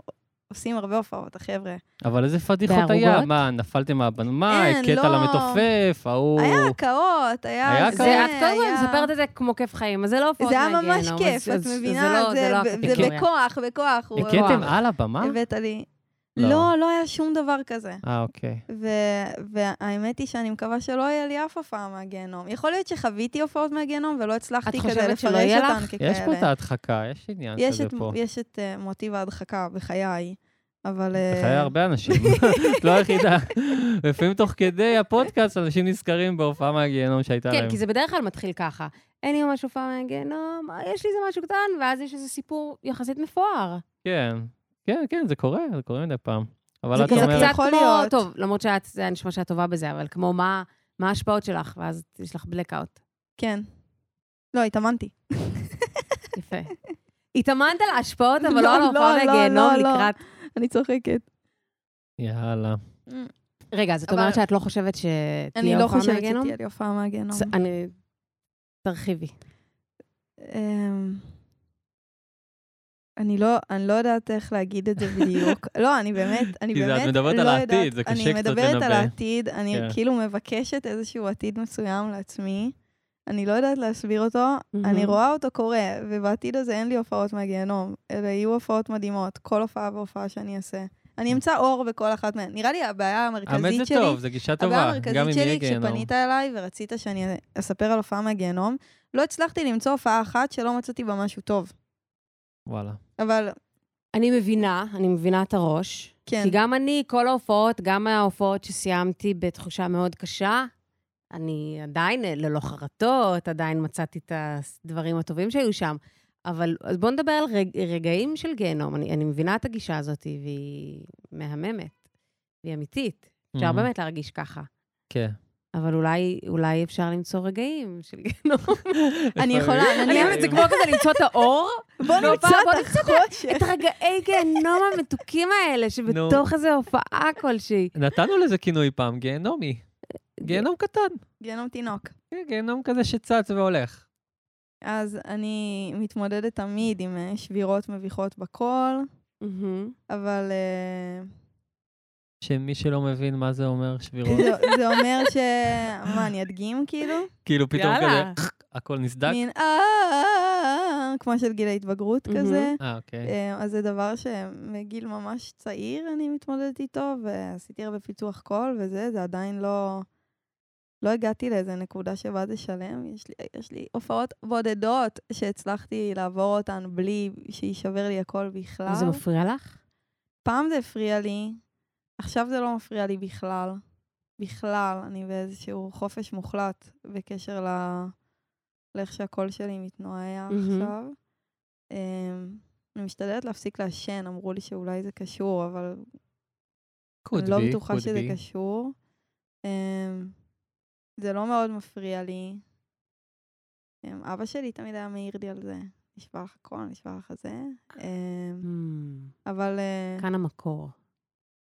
S3: עושים הרבה הופעות, החבר'ה.
S1: אבל איזה פדיחות היה?
S2: בערוגות?
S1: מה, נפלתם מהבנמה?
S3: אין,
S1: קטע
S3: לא.
S1: למתופף? ההוא...
S3: היה הקאות, היה...
S1: היה
S2: זה,
S1: כן,
S2: אוקיי, את כל הזמן מספרת את זה כמו כיף חיים, אז זה לא הופעות
S3: זה היה
S2: מהגיהנום,
S3: ממש
S2: אז-
S3: כיף, את
S2: אז- אז
S3: מבינה?
S2: לא-
S3: זה
S2: לא
S3: ב- זה
S2: הקטגוריה.
S3: בכוח, בכוח. הוא-
S1: הכיתם על הבמה?
S3: הבאת לי.
S1: לא.
S3: לא, לא היה שום דבר כזה.
S1: אה, אוקיי.
S3: ו- והאמת היא שאני מקווה שלא יהיה לי אף הופעה מהגיהנום. יכול להיות שחוויתי הופעות מהגיהנום ולא הצלחתי
S2: את
S3: כדי
S2: חושבת שלא
S3: לפרש
S2: יהיה
S3: אותן ככאלה.
S1: יש פה את ההדחקה, יש עניין
S3: יש
S1: כזה
S3: את-
S1: פה.
S3: יש את אה, מוטיב ההדחקה בחיי, אבל... אה,
S1: בחיי הרבה אנשים, את לא היחידה. לפעמים תוך כדי הפודקאסט אנשים נזכרים בהופעה מהגיהנום שהייתה להם.
S2: כן, כי זה בדרך כלל מתחיל ככה. אין לי ממש הופעה מהגיהנום, אה, יש לי איזה משהו קטן, ואז יש איזה סיפור יחסית מפואר.
S1: כן, כן, כן, זה קורה, זה קורה מדי פעם. אבל
S2: זה
S1: את
S2: כזה
S1: אומרת...
S2: קצת
S3: יכול
S2: כמו,
S3: להיות.
S2: טוב, למרות שאת, זה היה נשמע שאת טובה בזה, אבל כמו מה מה ההשפעות שלך, ואז יש לך בלקאוט.
S3: כן. לא, התאמנתי.
S2: יפה. התאמנת על ההשפעות, אבל
S3: לא,
S2: לא על
S3: לא,
S2: ההופעה
S3: לא,
S2: מהגיהנום
S3: לא, לא.
S2: לקראת...
S3: אני צוחקת.
S1: יאללה.
S2: רגע, אז את
S3: אבל-
S2: אומרת שאת לא חושבת שתהיה
S3: אני לא
S2: הופעה
S3: חושבת
S2: מהגיהנום?
S3: שתהיה לי הופעה מהגיהנום.
S2: ס- אני... תרחיבי.
S3: אמ, אני לא, אני לא יודעת איך להגיד את זה בדיוק. לא, אני באמת, אני
S1: כי זה- את
S3: באמת לא
S1: מדברת
S3: יודעת.
S1: על העתיד, זה קשה קצת
S3: אני מדברת על
S1: לנבא.
S3: העתיד, אני
S1: כן.
S3: כאילו מבקשת איזשהו עתיד מסוים לעצמי. אני לא יודעת להסביר אותו, אני
S2: מהמם.
S3: רואה אותו קורה, ובעתיד הזה אין לי הופעות מהגיהנום, אלא יהיו הופעות מדהימות, כל הופעה והופעה שאני אעשה. אני אמצא אור בכל אחת מהן. נראה לי הבעיה
S1: האמת
S3: המרכזית
S1: זה
S3: שלי...
S1: טוב, זו גישה
S3: הבעיה
S1: טובה, גם
S3: המרכזית
S1: אם יהיה
S3: שלי,
S1: גיהנום.
S3: כשפנית אליי ורצית שאני אספר על הופעה מהגיהנום, לא הצלחתי למצוא הופעה אחת שלא מצאתי בה משהו טוב.
S1: וואלה.
S3: אבל
S2: אני מבינה, אני מבינה את הראש.
S3: כן,
S2: כי גם אני, כל ההופעות, גם ההופעות שסיימתי בתחושה מאוד קשה, אני עדיין אה, ללא חרטות, עדיין מצאתי את הדברים הטובים שהיו שם. אבל אז בואו נדבר על רג, רגעים של גיהנום. אני, אני מבינה את הגישה הזאת, והיא מהממת, והיא אמיתית. אפשר
S1: מהמם.
S2: באמת להרגיש ככה.
S1: Mm, כן.
S2: אבל אולי, אולי אפשר למצוא רגעים של גיהנום.
S3: אני
S1: לפעמים-
S3: יכולה, אני
S2: אני אוהבת את זה כמו כזה למצוא את האור,
S3: בוא
S2: לא,
S3: נמצא
S2: פעם- בוא
S3: את החושך.
S2: את הרגעי גיהנום המתוקים האלה, שבתוך איזו הופעה כלשהי.
S1: נתנו לזה כינוי פעם, גיהנומי. גיהנום קטן.
S3: גיהנום תינוק.
S1: כן, גיהנום כזה שצץ והולך.
S3: אז אני מתמודדת תמיד עם אה, שבירות מביכות בקול,
S2: מהמם.
S3: אבל אה,
S1: שמי שלא מבין מה זה אומר שבירות,
S3: זה- זה אומר ש... מה, אני אדגים כאילו?
S1: כאילו פתאום
S2: יאללה.
S1: כזה, הכל נסדק.
S3: מין אה, כמו של גיל ההתבגרות
S2: מהמם.
S3: כזה.
S1: אה, אוקיי.
S3: אה, אז זה דבר שמגיל ממש צעיר אני מתמודדת איתו, ועשיתי הרבה פיתוח קול וזה, זה עדיין לא... לא הגעתי לאיזה נקודה שבה זה שלם. יש לי, יש לי הופעות בודדות שהצלחתי לעבור אותן בלי שיישבר לי הקול
S1: "אה?"
S3: בכלל.
S2: אה, זה מפריע לך?
S3: פעם זה הפריע לי, עכשיו זה לא מפריע לי בכלל. בכלל, אני באיזשהו חופש מוחלט בקשר ל... לאיך שהקול שלי מתנועע
S2: מהמם.
S3: עכשיו. אמ, אני משתדלת להפסיק לעשן, אמרו לי שאולי זה קשור, אבל
S1: could
S3: אני לא
S1: be,
S3: בטוחה
S1: could
S3: שזה
S1: be.
S3: קשור. אמ, זה לא מאוד מפריע לי. אמ, אבא שלי תמיד היה מעיר לי על זה. נשבע לך קול, נשבע לך זה.
S2: כן.
S3: אמ,
S2: מהמם.
S3: אבל... אה,
S2: Hmm, כאן המקור.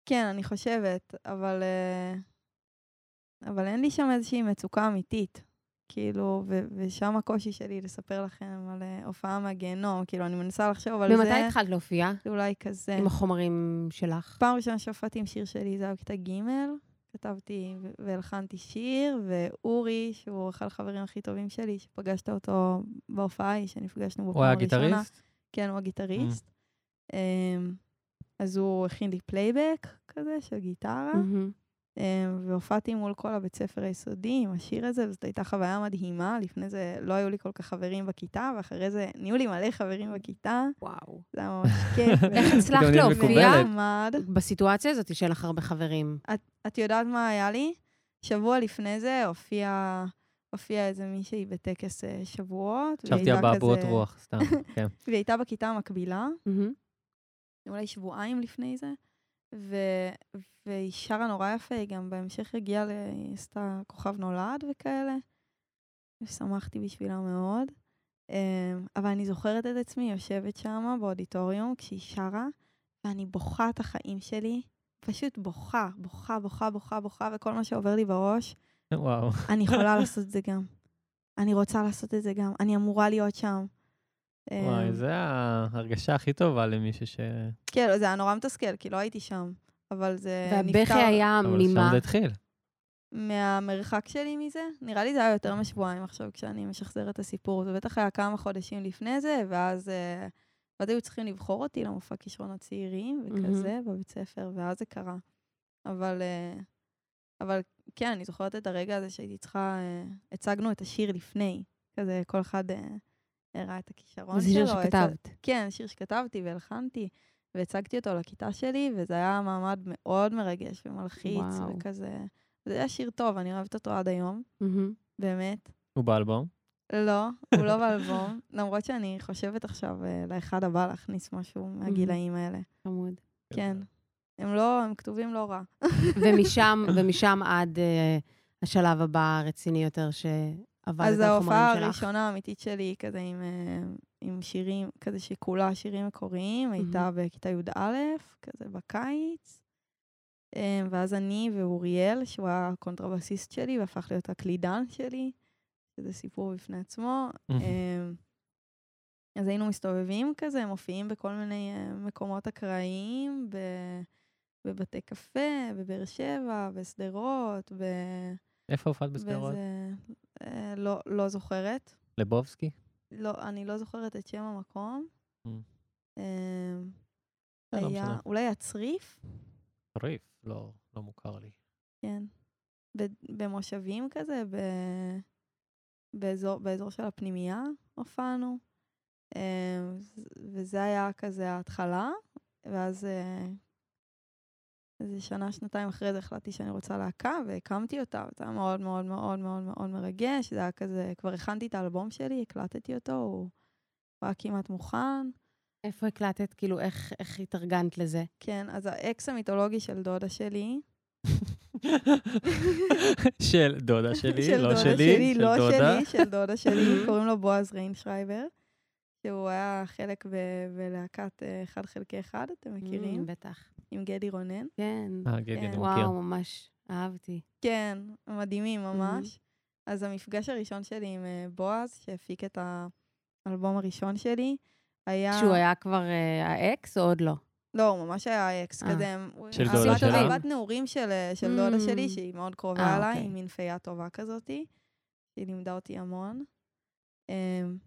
S3: כן, אני חושבת, אבל... אה, אבל אין לי שם איזושהי מצוקה אמיתית. כאילו, ו- ושם הקושי שלי לספר לכם על אה, הופעה מהגיהנום. כאילו, אני מנסה לחשוב על
S2: ומתי
S3: זה,
S2: התחלת להופיע?
S3: זה אולי כזה.
S2: עם החומרים שלך?
S3: פעם ראשונה שהופעתי עם שיר שלי, זה היה בכיתה ג', כתבתי ו- והלחנתי שיר, ואורי, שהוא אחד החברים הכי טובים שלי, שפגשת אותו בהופעה ההיא, שנפגשנו
S1: הוא
S3: בפעם
S1: היה
S3: הראשונה.
S1: גיטריסט?
S3: כן, הוא הגיטריסט. אמ, אז הוא הכין לי פלייבק כזה של גיטרה.
S2: מהמם.
S3: אמ, והופעתי מול כל הבית ספר היסודי עם השיר הזה, וזאת הייתה חוויה מדהימה. לפני זה לא היו לי כל כך חברים בכיתה, ואחרי זה נהיו לי מלא חברים בכיתה.
S2: וואו.
S3: זה היה ממש כיף.
S2: איך הצלחת
S1: פתאום נהיית
S2: להופיע
S1: מקובלת.
S3: נחמד.
S2: בסיטואציה הזאת שאין לך הרבה חברים?
S3: את יודעת מה היה לי? שבוע לפני זה הופיעה הופיע איזה מישהי בטקס אה, שבועות. והיא
S1: חשבתי
S3: הייתה
S1: אבעבועות
S3: כזה-
S1: רוח, סתם, כן.
S3: והיא הייתה בכיתה המקבילה.
S2: מהמם.
S3: אולי שבועיים לפני זה, ו... והיא שרה נורא יפה, היא גם בהמשך הגיעה, ל... היא עשתה כוכב נולד וכאלה, ושמחתי בשבילה מאוד. אמ, אבל אני זוכרת את עצמי יושבת שם באודיטוריום כשהיא שרה, ואני בוכה את החיים שלי, פשוט בוכה, בוכה, בוכה, בוכה, בוכה, וכל מה שעובר לי בראש,
S1: וואו.
S3: אני יכולה לעשות את זה גם. אני רוצה לעשות את זה גם, אני אמורה להיות שם. אמ,
S1: וואי, זה ההרגשה הכי טובה למישהו ש...
S3: כן, זה היה נורא מתסכל, כי לא הייתי שם. אבל זה
S2: והבכי היה
S1: אבל שם
S2: נימה.
S1: זה התחיל.
S3: מהמרחק שלי מזה. נראה לי זה היה יותר משבועיים עכשיו, כשאני משחזרת את הסיפור. זה בטח היה כמה חודשים לפני זה, ואז... אה, ואז היו צריכים לבחור אותי למופע כישרונות צעירים וכזה בבית ספר, ואז זה קרה. אבל, אה, אבל כן, אני זוכרת את הרגע הזה שהייתי צריכה... אה, הצגנו את השיר לפני. כזה, כל אחד אה, הראה את הכישרון
S2: זה
S3: שלו.
S2: שיר
S3: הצ-
S2: שכתבת.
S3: כן, שיר שכתבתי והלחנתי, והצגתי אותו לכיתה שלי, וזה היה מעמד מאוד מרגש ומלחיץ,
S2: וואו.
S3: וואו. וכזה... זה היה שיר טוב, אני אוהבת אותו עד היום,
S2: מהמם.
S3: באמת.
S1: הוא באלבום.
S3: לא, הוא לא באלבום, למרות שאני חושבת עכשיו אה, לאחד הבא להכניס משהו מהגילאים האלה.
S2: חמוד.
S3: כן. הם לא, הם כתובים לא רע.
S2: ומשם, ומשם עד אה, השלב הבא הרציני יותר שעבדת
S3: אז
S2: על
S3: ההופעה
S2: החומרים שלך.
S3: הראשונה האמיתית שלי, היא כזה עם, אה, עם שירים, כזה שכולה שירים מקוריים, הייתה בכיתה י"א, כזה בקיץ. אה, ואז אני ואוריאל, שהוא היה הקונטרבסיסט שלי והפך להיות הקלידן שלי, שזה סיפור בפני עצמו. אה, אז היינו מסתובבים כזה, מופיעים בכל מיני אה, מקומות אקראיים, ב... בבתי קפה, בבאר שבע, בשדרות, ב...
S1: איפה הופעת בשדרות?
S3: באיזה... אה, לא, לא זוכרת.
S1: לבובסקי?
S3: לא, אני לא זוכרת את שם המקום.
S1: Mm.
S3: אה,
S1: אה, לא
S3: היה
S1: משנה.
S3: אולי הצריף?
S1: חריף, לא לא מוכר לי.
S3: כן. ב- במושבים כזה, ב... באזור, באזור של הפנימייה הופענו. אה, ז- וזה היה כזה ההתחלה, ואז אה, איזה שנה, שנתיים אחרי זה החלטתי שאני רוצה להקה, והקמתי אותה, זה היה מאוד מאוד מאוד מאוד מאוד מרגש, זה היה כזה, כבר הכנתי את האלבום שלי, הקלטתי אותו, הוא הוא היה כמעט מוכן.
S2: איפה הקלטת? כאילו, איך, איך התארגנת לזה?
S3: כן, אז האקס המיתולוגי של דודה שלי,
S1: של דודה שלי,
S3: של
S1: לא
S3: דודה
S1: שלי, של
S3: לא
S1: דודה.
S3: שלי, של דודה שלי, קוראים לו בועז ריינשרייבר, שהוא היה חלק ב- בלהקת אה, אחד חלקי אחד, אתם מכירים?
S2: Mm, בטח.
S3: עם גדי רונן.
S2: כן.
S1: אה, גידי, אני
S3: כן.
S1: מכיר.
S2: וואו, ממש. אהבתי.
S3: כן,
S1: Mm-hmm.
S3: מדהימים ממש. אז המפגש הראשון שלי עם אה, בועז, שהפיק את האלבום הראשון שלי, היה...
S2: שהוא היה כבר אה, האקס או עוד לא?
S3: לא, הוא ממש היה אקס
S2: אה.
S3: כזה. הוא-
S1: של
S3: הבת-
S1: דודה שלה?
S3: הבת נעורים של, אה, של דודה שלי,
S2: Mm.
S3: שהיא מאוד קרובה
S2: אה,
S3: אליי,
S2: אוקיי.
S3: היא מין פיה טובה כזאתי. היא לימדה אותי המון. אמ,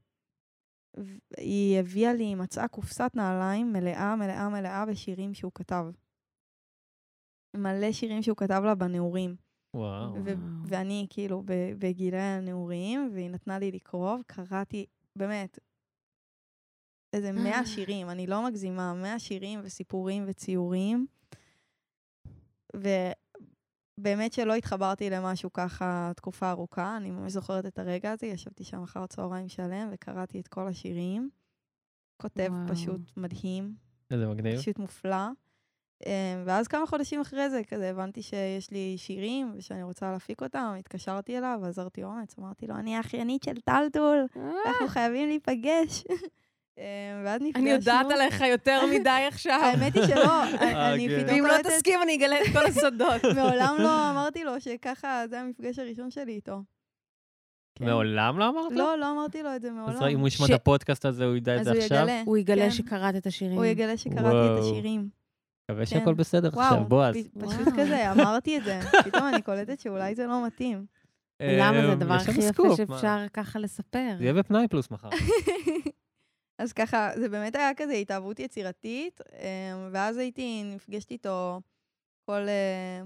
S3: ו- היא הביאה לי, היא מצאה קופסת נעליים מלאה, מלאה, מלאה בשירים שהוא כתב. מלא שירים שהוא כתב לה בנעורים.
S1: וואו.
S3: ו-
S2: וואו.
S3: ואני כאילו ב- בגילי הנעורים, והיא נתנה לי לקרוא, וקראתי, באמת, איזה 100 שירים, אני לא מגזימה, 100 שירים וסיפורים וציורים. ובאמת שלא התחברתי למשהו ככה תקופה ארוכה, אני ממש זוכרת את הרגע הזה, ישבתי שם אחר הצהריים שלם וקראתי את כל השירים. כותב
S2: וואו.
S3: פשוט מדהים,
S1: איזה מגניב.
S3: פשוט מופלא. אמ, ואז כמה חודשים אחרי זה, כזה הבנתי שיש לי שירים ושאני רוצה להפיק אותם, התקשרתי אליו, עזרתי אומץ, אמרתי לו, אני האחיינית של טלטול,
S2: אה,
S3: אנחנו חייבים להיפגש. אמ, ואז נפגשנו.
S2: אני יודעת עליך יותר מדי עכשיו.
S3: האמת היא שלא, אני
S1: כן.
S3: פתאום
S2: ואם לא
S3: קולטת,
S2: תסכים, אני אגלה את כל הסודות.
S3: מעולם לא אמרתי לו שככה, זה המפגש הראשון שלי איתו. כן.
S1: מעולם לא אמרת?
S3: לא, לא אמרתי לו את זה מעולם.
S1: אז רק אם הוא ישמע
S2: ש-
S1: את הפודקאסט הזה, הוא ידע את
S3: אז
S1: זה
S3: הוא
S1: עכשיו?
S3: יגלה,
S2: הוא יגלה
S3: כן.
S2: שקראת את השירים.
S3: הוא יגלה שקראתי את
S1: וואו.
S3: השירים.
S1: מקווה
S3: כן.
S1: שהכל בסדר עכשיו,
S3: וואו,
S1: בועז.
S3: פ- פשוט
S2: וואו.
S3: כזה, אמרתי את זה. פתאום אני קולטת שאולי זה לא מתאים.
S2: למה זה
S1: אמ,
S2: הדבר
S1: יש לנו
S2: הכי יפה
S1: סקופ, מה?
S2: שאפשר ככה לספר?
S1: זה יהיה בפנאי פלוס מחר.
S3: אז ככה, זה באמת היה כזה התאהבות יצירתית, אמ, ואז הייתי, נפגשת איתו כל, אה,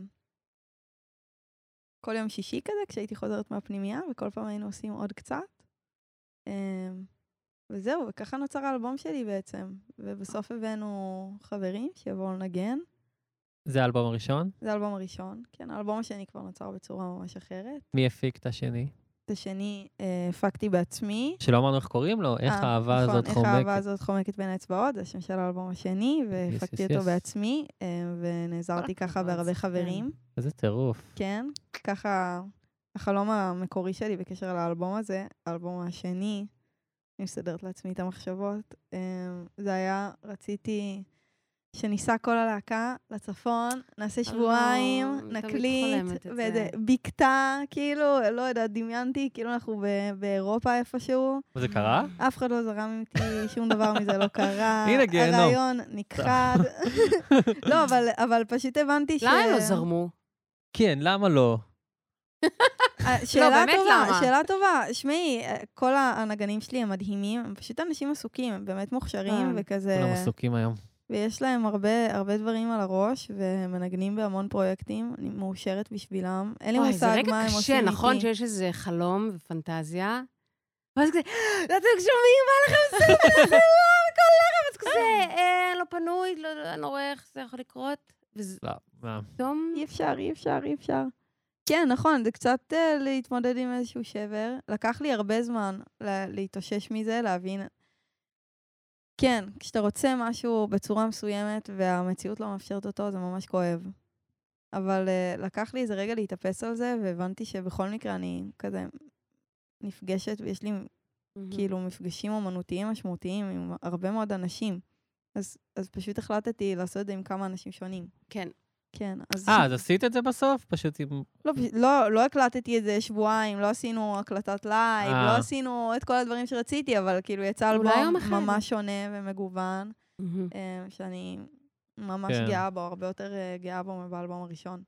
S3: כל יום שישי כזה, כשהייתי חוזרת מהפנימייה, וכל פעם היינו עושים עוד קצת. אמ, וזהו, וככה נוצר האלבום שלי בעצם. ובסוף הבאנו חברים שיבואו לנגן.
S1: זה האלבום הראשון?
S3: זה האלבום הראשון. כן, האלבום השני כבר נוצר בצורה ממש אחרת.
S1: מי הפיק את השני?
S3: את השני אה, הפקתי בעצמי.
S1: שלא אמרנו איך קוראים לו, איך
S3: אה,
S1: האהבה
S3: נכון,
S1: הזאת
S3: איך האהבה
S1: חומקת.
S3: הזאת חומקת בין האצבעות, זה השם של האלבום השני, והפקתי
S1: yes,
S3: אותו
S1: yes.
S3: בעצמי, אה, ונעזרתי
S1: כל
S3: ככה
S1: הכבוד,
S3: בהרבה
S2: כן.
S3: חברים,
S1: איזה טירוף.
S3: כן? ככה, החלום המקורי שלי בקשר לאלבום הזה, האלבום השני, אני מסדרת לעצמי את המחשבות, אה, זה היה, רציתי שניסע כל הלהקה לצפון, נעשה
S2: הלו,
S3: שבועיים,
S2: אני אה, תמיד
S3: נקליט,
S2: חולמת את זה.
S3: ואיזה בקתה, כאילו, לא יודעת, דמיינתי, כאילו אנחנו ב- באירופה איפשהו.
S1: זה קרה?
S3: אף אחד לא זרם איתי, שום דבר מזה לא קרה.
S1: הנה, גיהנום.
S3: הרעיון נכחד. לא, אבל, אבל פשוט הבנתי ש...
S2: למה הם לא זרמו?
S1: כן, למה לא?
S3: אה, שאלה
S2: לא, באמת,
S3: טובה,
S2: למה?
S3: שאלה טובה. שמעי, אה, כל הנגנים שלי הם מדהימים, הם פשוט אנשים עסוקים, הם באמת מוכשרים
S2: כן.
S3: וכזה...
S1: כולם עסוקים היום.
S3: ויש להם הרבה, הרבה דברים על הראש, והם מנגנים בהמון פרויקטים, אני מאושרת בשבילם. אין לי
S2: וואי,
S3: מושג
S2: זה
S3: מה הם
S2: רגע
S3: עושים איתי.
S2: קשה, נכון? שיש איזה חלום ופנטזיה, ואז כזה, "אה, אתם שומעים, מה לכם זה, זה לא, כל ערב, אז כזה, "אה, לא פנוי, לא- לא- אני לא רואה איך זה יכול לקרות, וזה
S1: לא, מה?
S2: פתאום...
S3: אי אפשר, אי אפשר, אי אפשר. כן, נכון, זה קצת uh, להתמודד עם איזשהו שבר. לקח לי הרבה זמן לה, להתאושש מזה, להבין. כן, כשאתה רוצה משהו בצורה מסוימת והמציאות לא מאפשרת אותו, זה ממש כואב. אבל uh, לקח לי איזה רגע להתאפס על זה, והבנתי שבכל מקרה אני כזה נפגשת, ויש לי
S2: מהמם.
S3: כאילו מפגשים אומנותיים משמעותיים עם הרבה מאוד אנשים. אז, אז פשוט החלטתי לעשות את זה עם כמה אנשים שונים.
S2: כן.
S3: כן, אז...
S1: אה, אז עשית את זה בסוף? פשוט עם...
S3: לא, פשוט- לא, לא הקלטתי את זה שבועיים, לא עשינו הקלטת לייב,
S1: אה.
S3: לא עשינו את כל הדברים שרציתי, אבל כאילו יצא
S2: אולי
S3: אלבום
S2: יום אחד.
S3: ממש שונה ומגוון,
S2: מהמם.
S3: אה, שאני ממש
S1: כן.
S3: גאה בו, הרבה יותר אה, גאה בו מבאלבום הראשון.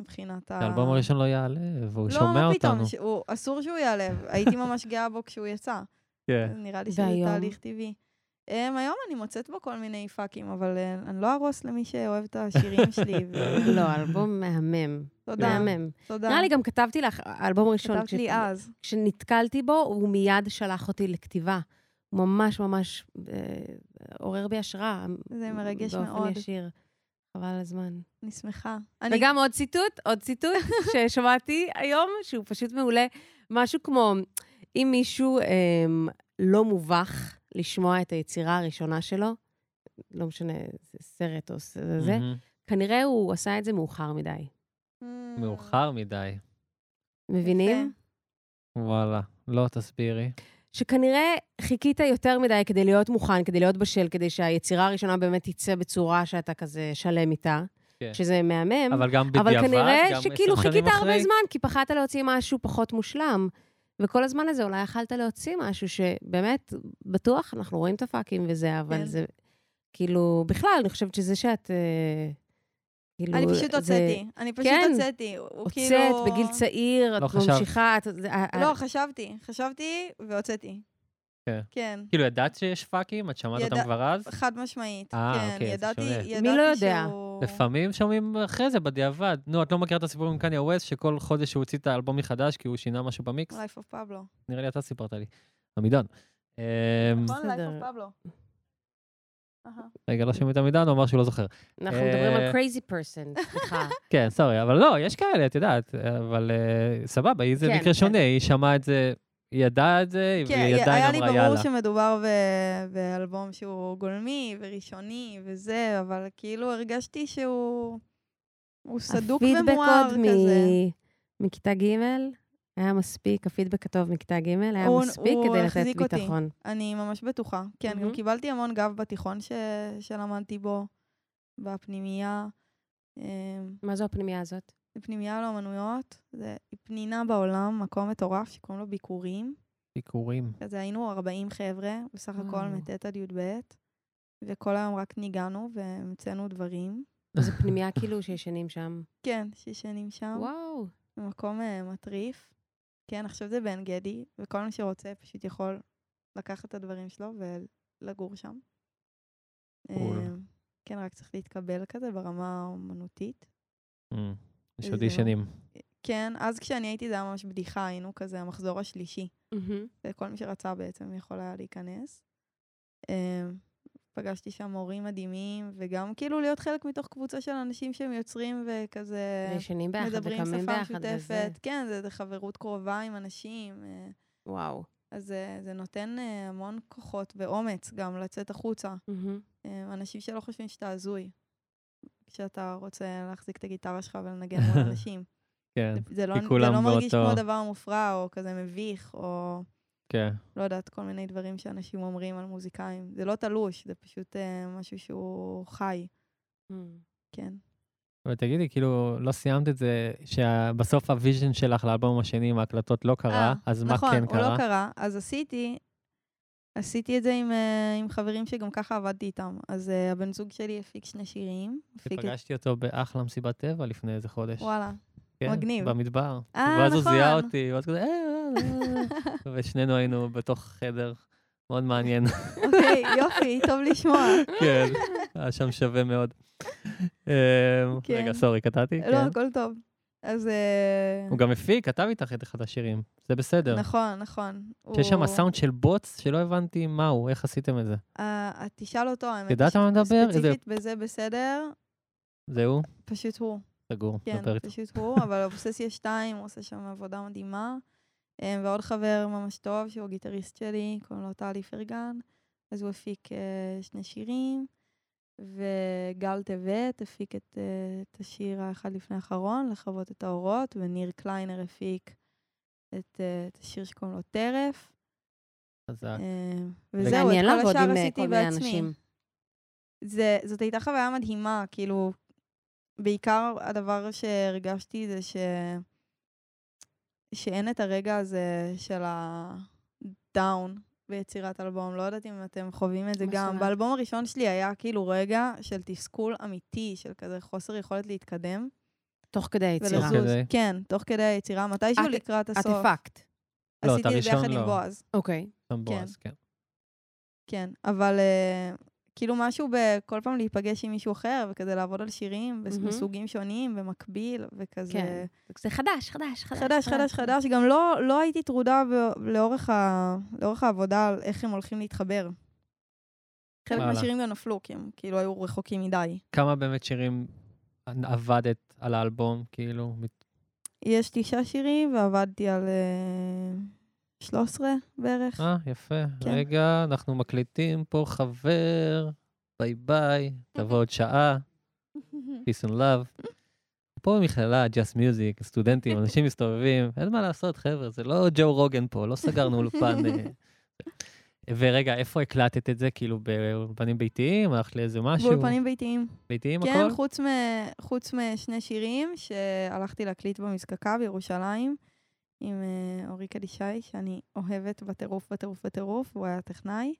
S3: מבחינת ה...
S1: האלבום הראשון לא יעלה, והוא
S3: אה, לא,
S1: שומע
S3: מה פתאום,
S1: אותנו.
S3: ש- הוא- אסור שהוא ייעלב, הייתי ממש גאה בו כשהוא יצא.
S1: כן.
S3: נראה לי שזה
S2: והיום?
S3: תהליך טבעי. אמ, היום אני מוצאת בו כל מיני פאקים, אבל אה, אני לא ארוס למי שאוהב את השירים שלי. ו-
S2: לא, אלבום מהמם,
S3: תודה,
S2: מהמם.
S3: תודה.
S2: נראה לי גם כתבתי לך, אלבום ראשון,
S3: כתבת לי
S2: כש-
S3: אז.
S2: כשנתקלתי בו, הוא מיד שלח אותי לכתיבה. הוא ממש ממש אה, עורר בי השראה.
S3: זה מרגש מאוד.
S2: באופן ישיר. חבל על הזמן.
S3: אני שמחה.
S2: אני...
S3: אני
S2: וגם עוד ציטוט, עוד ציטוט ששמעתי היום, שהוא פשוט מעולה. משהו כמו, אם מישהו אמ, לא מובך לשמוע את היצירה הראשונה שלו, לא משנה, זה סרט או ס- זה, זה,
S1: מהמם.
S2: כנראה הוא עשה את זה מאוחר מדי.
S3: Mm.
S1: מאוחר מדי.
S2: מבינים?
S3: יפה.
S1: וואלה. לא, תסבירי.
S2: שכנראה חיכית יותר מדי כדי להיות מוכן, כדי להיות בשל, כדי שהיצירה הראשונה באמת תצא בצורה שאתה כזה שלם איתה.
S1: כן.
S2: שזה מהמם.
S1: אבל גם בדיעבד,
S2: אבל כנראה
S1: גם
S2: שכאילו
S1: עשר שנים
S2: חיכית הרבה
S1: אחרי.
S2: זמן, כי פחדת להוציא משהו פחות מושלם. וכל הזמן הזה אולי יכלת להוציא משהו שבאמת, בטוח, אנחנו רואים את הפאקים וזה, אבל
S3: כן.
S2: זה... כאילו, בכלל, אני חושבת שזה שאת... אה, כאילו,
S3: אני פשוט
S2: זה-
S3: הוצאתי, אני פשוט
S2: כן.
S3: הוצאתי. הוא כאילו...
S2: הוצאת בגיל צעיר,
S1: לא
S2: את
S1: חשבת.
S2: ממשיכה, את... זה- ה- ה-
S3: לא, חשבתי, חשבתי והוצאתי.
S1: כן.
S3: כן,
S1: כאילו, ידעת שיש פאקים? את שמעת
S3: ידע-
S1: אותם כבר אז?
S3: חד משמעית.
S1: אה,
S3: כן,
S1: אוקיי, זה
S3: ידעתי,
S1: שונה.
S3: ידעתי
S2: מי לא יודע?
S3: שהוא...
S1: לפעמים שומעים אחרי זה, בדיעבד. נו, את לא מכירה את הסיפור עם קניה ווסט, שכל חודש הוא הוציא את האלבום מחדש כי הוא שינה משהו במיקס?
S3: Life of Pablo.
S1: נראה לי אתה סיפרת לי. עמידן. אמ,
S3: נכון, Life
S2: בסדר.
S3: of Pablo. אהה.
S1: רגע, לא שומעים את עמידן, הוא אמר שהוא לא זוכר.
S2: אנחנו מדברים
S1: אה,
S2: על crazy person, סליחה.
S1: כן, סורי, אבל לא, יש כאלה, את יודעת, אבל אה, סבבה, היא זה
S2: כן,
S1: מקרה
S2: כן.
S1: שונה, היא שמעה את זה, היא ידעה את זה,
S3: כן,
S1: והיא
S3: היה
S1: עדיין
S3: לי
S1: אמרה
S3: ברור
S1: יאללה.
S3: שמדובר ב- באלבום שהוא גולמי וראשוני וזה, אבל כאילו הרגשתי שהוא... הוא סדוק ומואר
S2: הפידבק עוד
S3: כזה.
S2: מ- מכיתה ג' היה מספיק, הפידבק הטוב מכיתה ג' היה
S3: הוא-
S2: מספיק
S3: הוא
S2: כדי לתת
S3: החזיק אותי.
S2: ביטחון.
S3: אני ממש בטוחה. כן, גם
S2: מהמם.
S3: קיבלתי המון גב בתיכון ש... שלמדתי בו, בפנימייה. אמ,
S2: מה זו הפנימייה הזאת?
S3: פנימייה לאומנויות, זה פנינה בעולם, מקום מטורף שקוראים לו ביקורים.
S1: ביקורים.
S3: כזה היינו 40 חבר'ה, בסך הכל
S2: וואו.
S3: מט' עד י"ב, וכל היום רק ניגענו והמצאנו דברים.
S2: זו פנימייה כאילו שישנים שם.
S3: כן, שישנים
S2: אה.
S3: שם,
S2: וואו.
S3: במקום אה, מטריף. כן, עכשיו זה בעין גדי, וכל מי שרוצה פשוט יכול לקחת את הדברים שלו ולגור שם.
S1: קול.
S3: אה, כן, רק צריך להתקבל כזה ברמה האומנותית.
S1: אמ, יש עוד
S3: איזה
S1: ישנים.
S3: כן, אז כשאני הייתי זה היה ממש בדיחה, היינו כזה המחזור השלישי.
S2: מהמם.
S3: וכל מי שרצה בעצם יכול היה להיכנס. אה, פגשתי שם מורים מדהימים, וגם כאילו להיות חלק מתוך קבוצה של אנשים שהם יוצרים וכזה
S2: וישנים ביחד
S3: מדברים
S2: וקמים
S3: שפה
S2: ביחד וזה.
S3: משותפת. כן, זה, זה חברות קרובה עם אנשים. אה,
S2: וואו.
S3: אז זה, זה נותן אה, המון כוחות ואומץ גם לצאת החוצה.
S2: מהמם.
S3: אה, אנשים שלא חושבים שאתה הזוי. כשאתה רוצה להחזיק את הגיטרה שלך ולנגן מול אנשים.
S1: כן,
S3: זה- זה לא,
S1: כי
S3: זה
S1: כולם
S3: לא מרגיש
S1: באותו-
S3: כמו דבר מופרע, או כזה מביך, או
S1: כן.
S3: לא יודעת, כל מיני דברים שאנשים אומרים על מוזיקאים. זה לא תלוש, זה פשוט אה, משהו שהוא חי,
S2: מהמם.
S3: כן.
S1: אבל תגידי, כאילו, לא סיימת את זה, שבסוף הוויז'ן שלך לאלבום השני עם ההקלטות לא קרה,
S3: אה,
S1: אז מה
S3: נכון,
S1: כן
S3: הוא
S1: קרה?
S3: לא קרה. אז עשיתי, עשיתי את זה עם, אה, עם חברים שגם ככה עבדתי איתם. אז אה, הבן זוג שלי הפיק שני שירים. הפיק את...
S1: שפגשתי אותו באחלה מסיבת טבע לפני איזה חודש.
S3: וואלה.
S1: כן,
S3: מגניב.
S1: במדבר.
S3: אה,
S1: ואז הוא זיהה
S3: נכון.
S1: אותי, ואז כזה, "אה, אה, אה." ושנינו היינו בתוך חדר, מאוד מעניין.
S3: אוקיי, יופי, טוב לשמוע.
S1: כן, היה שם שווה מאוד. אמ,
S3: כן.
S1: רגע, סורי, קטעתי?
S3: לא,
S1: כן.
S3: הכל טוב. אז... אה,
S1: הוא גם הפיק, כתב איתך את אחד השירים, זה בסדר.
S3: נכון, נכון.
S1: שיש שם
S3: הוא-
S1: סאונד של בוץ שלא הבנתי מהו, איך עשיתם את זה.
S3: אה, את תשאל אותו, האמת.
S1: יודעת מה אני מדבר? איזה-
S3: ספציפית בזה בסדר,
S1: זהו,
S3: פשוט הוא.
S1: סגור, דבר
S3: כן,
S1: איתו.
S3: פשוט הוא, אבל אובססיה 2, הוא עושה שם עבודה מדהימה. אה, ועוד חבר ממש טוב, שהוא הגיטריסט שלי, קוראים לו טלי פרגן. אז הוא הפיק אה, שני שירים, וגל טבת הפיק את, אה, את השיר האחד לפני האחרון, לכבות את האורות, וניר קליינר הפיק את, אה, את השיר שקוראים לו טרף.
S1: חזק.
S3: אה, וזהו, את
S2: מעניין
S3: כל
S2: לעבוד
S3: השאר
S2: עם אה,
S3: עשיתי
S2: כל מיני
S3: בעצמי.
S2: אנשים.
S3: זה, זאת הייתה חוויה מדהימה, כאילו, בעיקר הדבר שהרגשתי זה ש... שאין את הרגע הזה של הדאון ביצירת אלבום. לא יודעת אם אתם חווים את זה
S2: מה זאת
S3: גם.
S2: אומרת?
S3: באלבום הראשון שלי היה כאילו רגע של תסכול אמיתי, של כזה חוסר יכולת להתקדם.
S2: תוך כדי היצירה.
S1: ולזוז.
S3: ולזוז.
S1: כדי.
S3: כן, תוך כדי היצירה, מתישהו
S2: את-
S3: לקראת
S2: את
S3: הסוף.
S2: הפקת.
S1: לא, את
S3: עשיתי את זה
S1: הראשון
S3: יחד עם
S1: לא.
S3: בועז.
S2: אוקיי.
S1: שם בועז, כן.
S3: כן, אבל אה, כאילו משהו בכל פעם להיפגש עם מישהו אחר, וכזה לעבוד על שירים בס-
S2: מהמם.
S3: מסוגים שונים, במקביל, וכזה...
S2: כן. אוקיי. זה חדש, חדש, חדש.
S3: חדש, חדש, חדש. גם לא, לא הייתי טרודה ב- לאורך, ה... לאורך העבודה על איך הם הולכים להתחבר. חלק
S1: וואלה.
S3: מהשירים גם נפלו, כי הם כאילו היו רחוקים מדי.
S1: כמה באמת שירים עבדת על האלבום, כאילו? מת-
S3: יש תשעה שירים, ועבדתי על אה, 13 בערך.
S1: אה, יפה.
S3: כן.
S1: רגע, אנחנו מקליטים פה חבר, ביי ביי, תבוא עוד שעה, peace and love. פה במכללה, Just Music, סטודנטים, אנשים מסתובבים, אין מה לעשות, חבר'ה, זה לא ג'ו רוגן פה, לא סגרנו אולפן. אה. ורגע, איפה הקלטת את זה? כאילו באולפנים ביתיים? הלכת לאיזה משהו?
S3: באולפנים ביתיים.
S1: ביתיים
S3: כן,
S1: הכל?
S3: חוץ, מ... חוץ משני שירים שהלכתי להקליט במזקקה בירושלים, עם אה, אורי קדישאי, שאני אוהבת בטירוף, בטירוף, בטירוף, הוא היה טכנאי,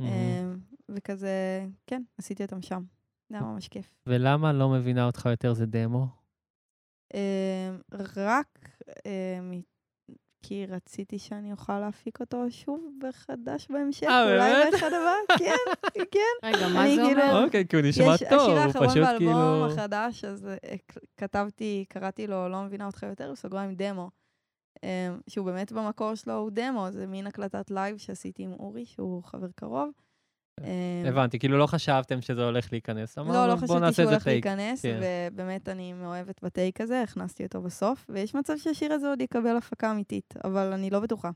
S1: מהמם.
S3: אה, וכזה, כן, עשיתי אותם שם. זה
S1: אוקיי.
S3: היה ממש כיף.
S1: ולמה לא מבינה אותך יותר זה דמו?
S3: אה, רק אה, מ- כי רציתי שאני אוכל להפיק אותו שוב מחדש בהמשך,
S1: אה,
S3: אולי
S1: באמת?
S3: באחד הבא, כן, כן.
S2: רגע, מה
S3: אני
S2: זה
S3: כאילו-
S2: אומר?
S1: אוקיי, כי הוא נשמע
S3: יש-
S1: טוב, הוא
S3: השיר האחרון
S1: פשוט
S3: באלבום
S1: כאילו...
S3: החדש, אז אה, כ- כתבתי, קראתי לו "לא מבינה אותך יותר", בסוגריים דמו. אה, שהוא באמת במקור שלו הוא דמו, זה מין הקלטת לייב שעשיתי עם אורי, שהוא חבר קרוב. אה,
S1: הבנתי, כאילו לא חשבתם שזה הולך להיכנס.
S3: לא, לא
S1: אמרנו, בוא
S3: חשבתי
S1: נעשה
S3: שהוא
S1: את זה
S3: הולך
S1: טייק.
S3: להיכנס,
S1: כן.
S3: ובאמת אני מאוהבת בטייק הזה, הכנסתי אותו בסוף, ויש מצב שהשיר הזה עוד יקבל הפקה אמיתית, אבל אני לא בטוחה.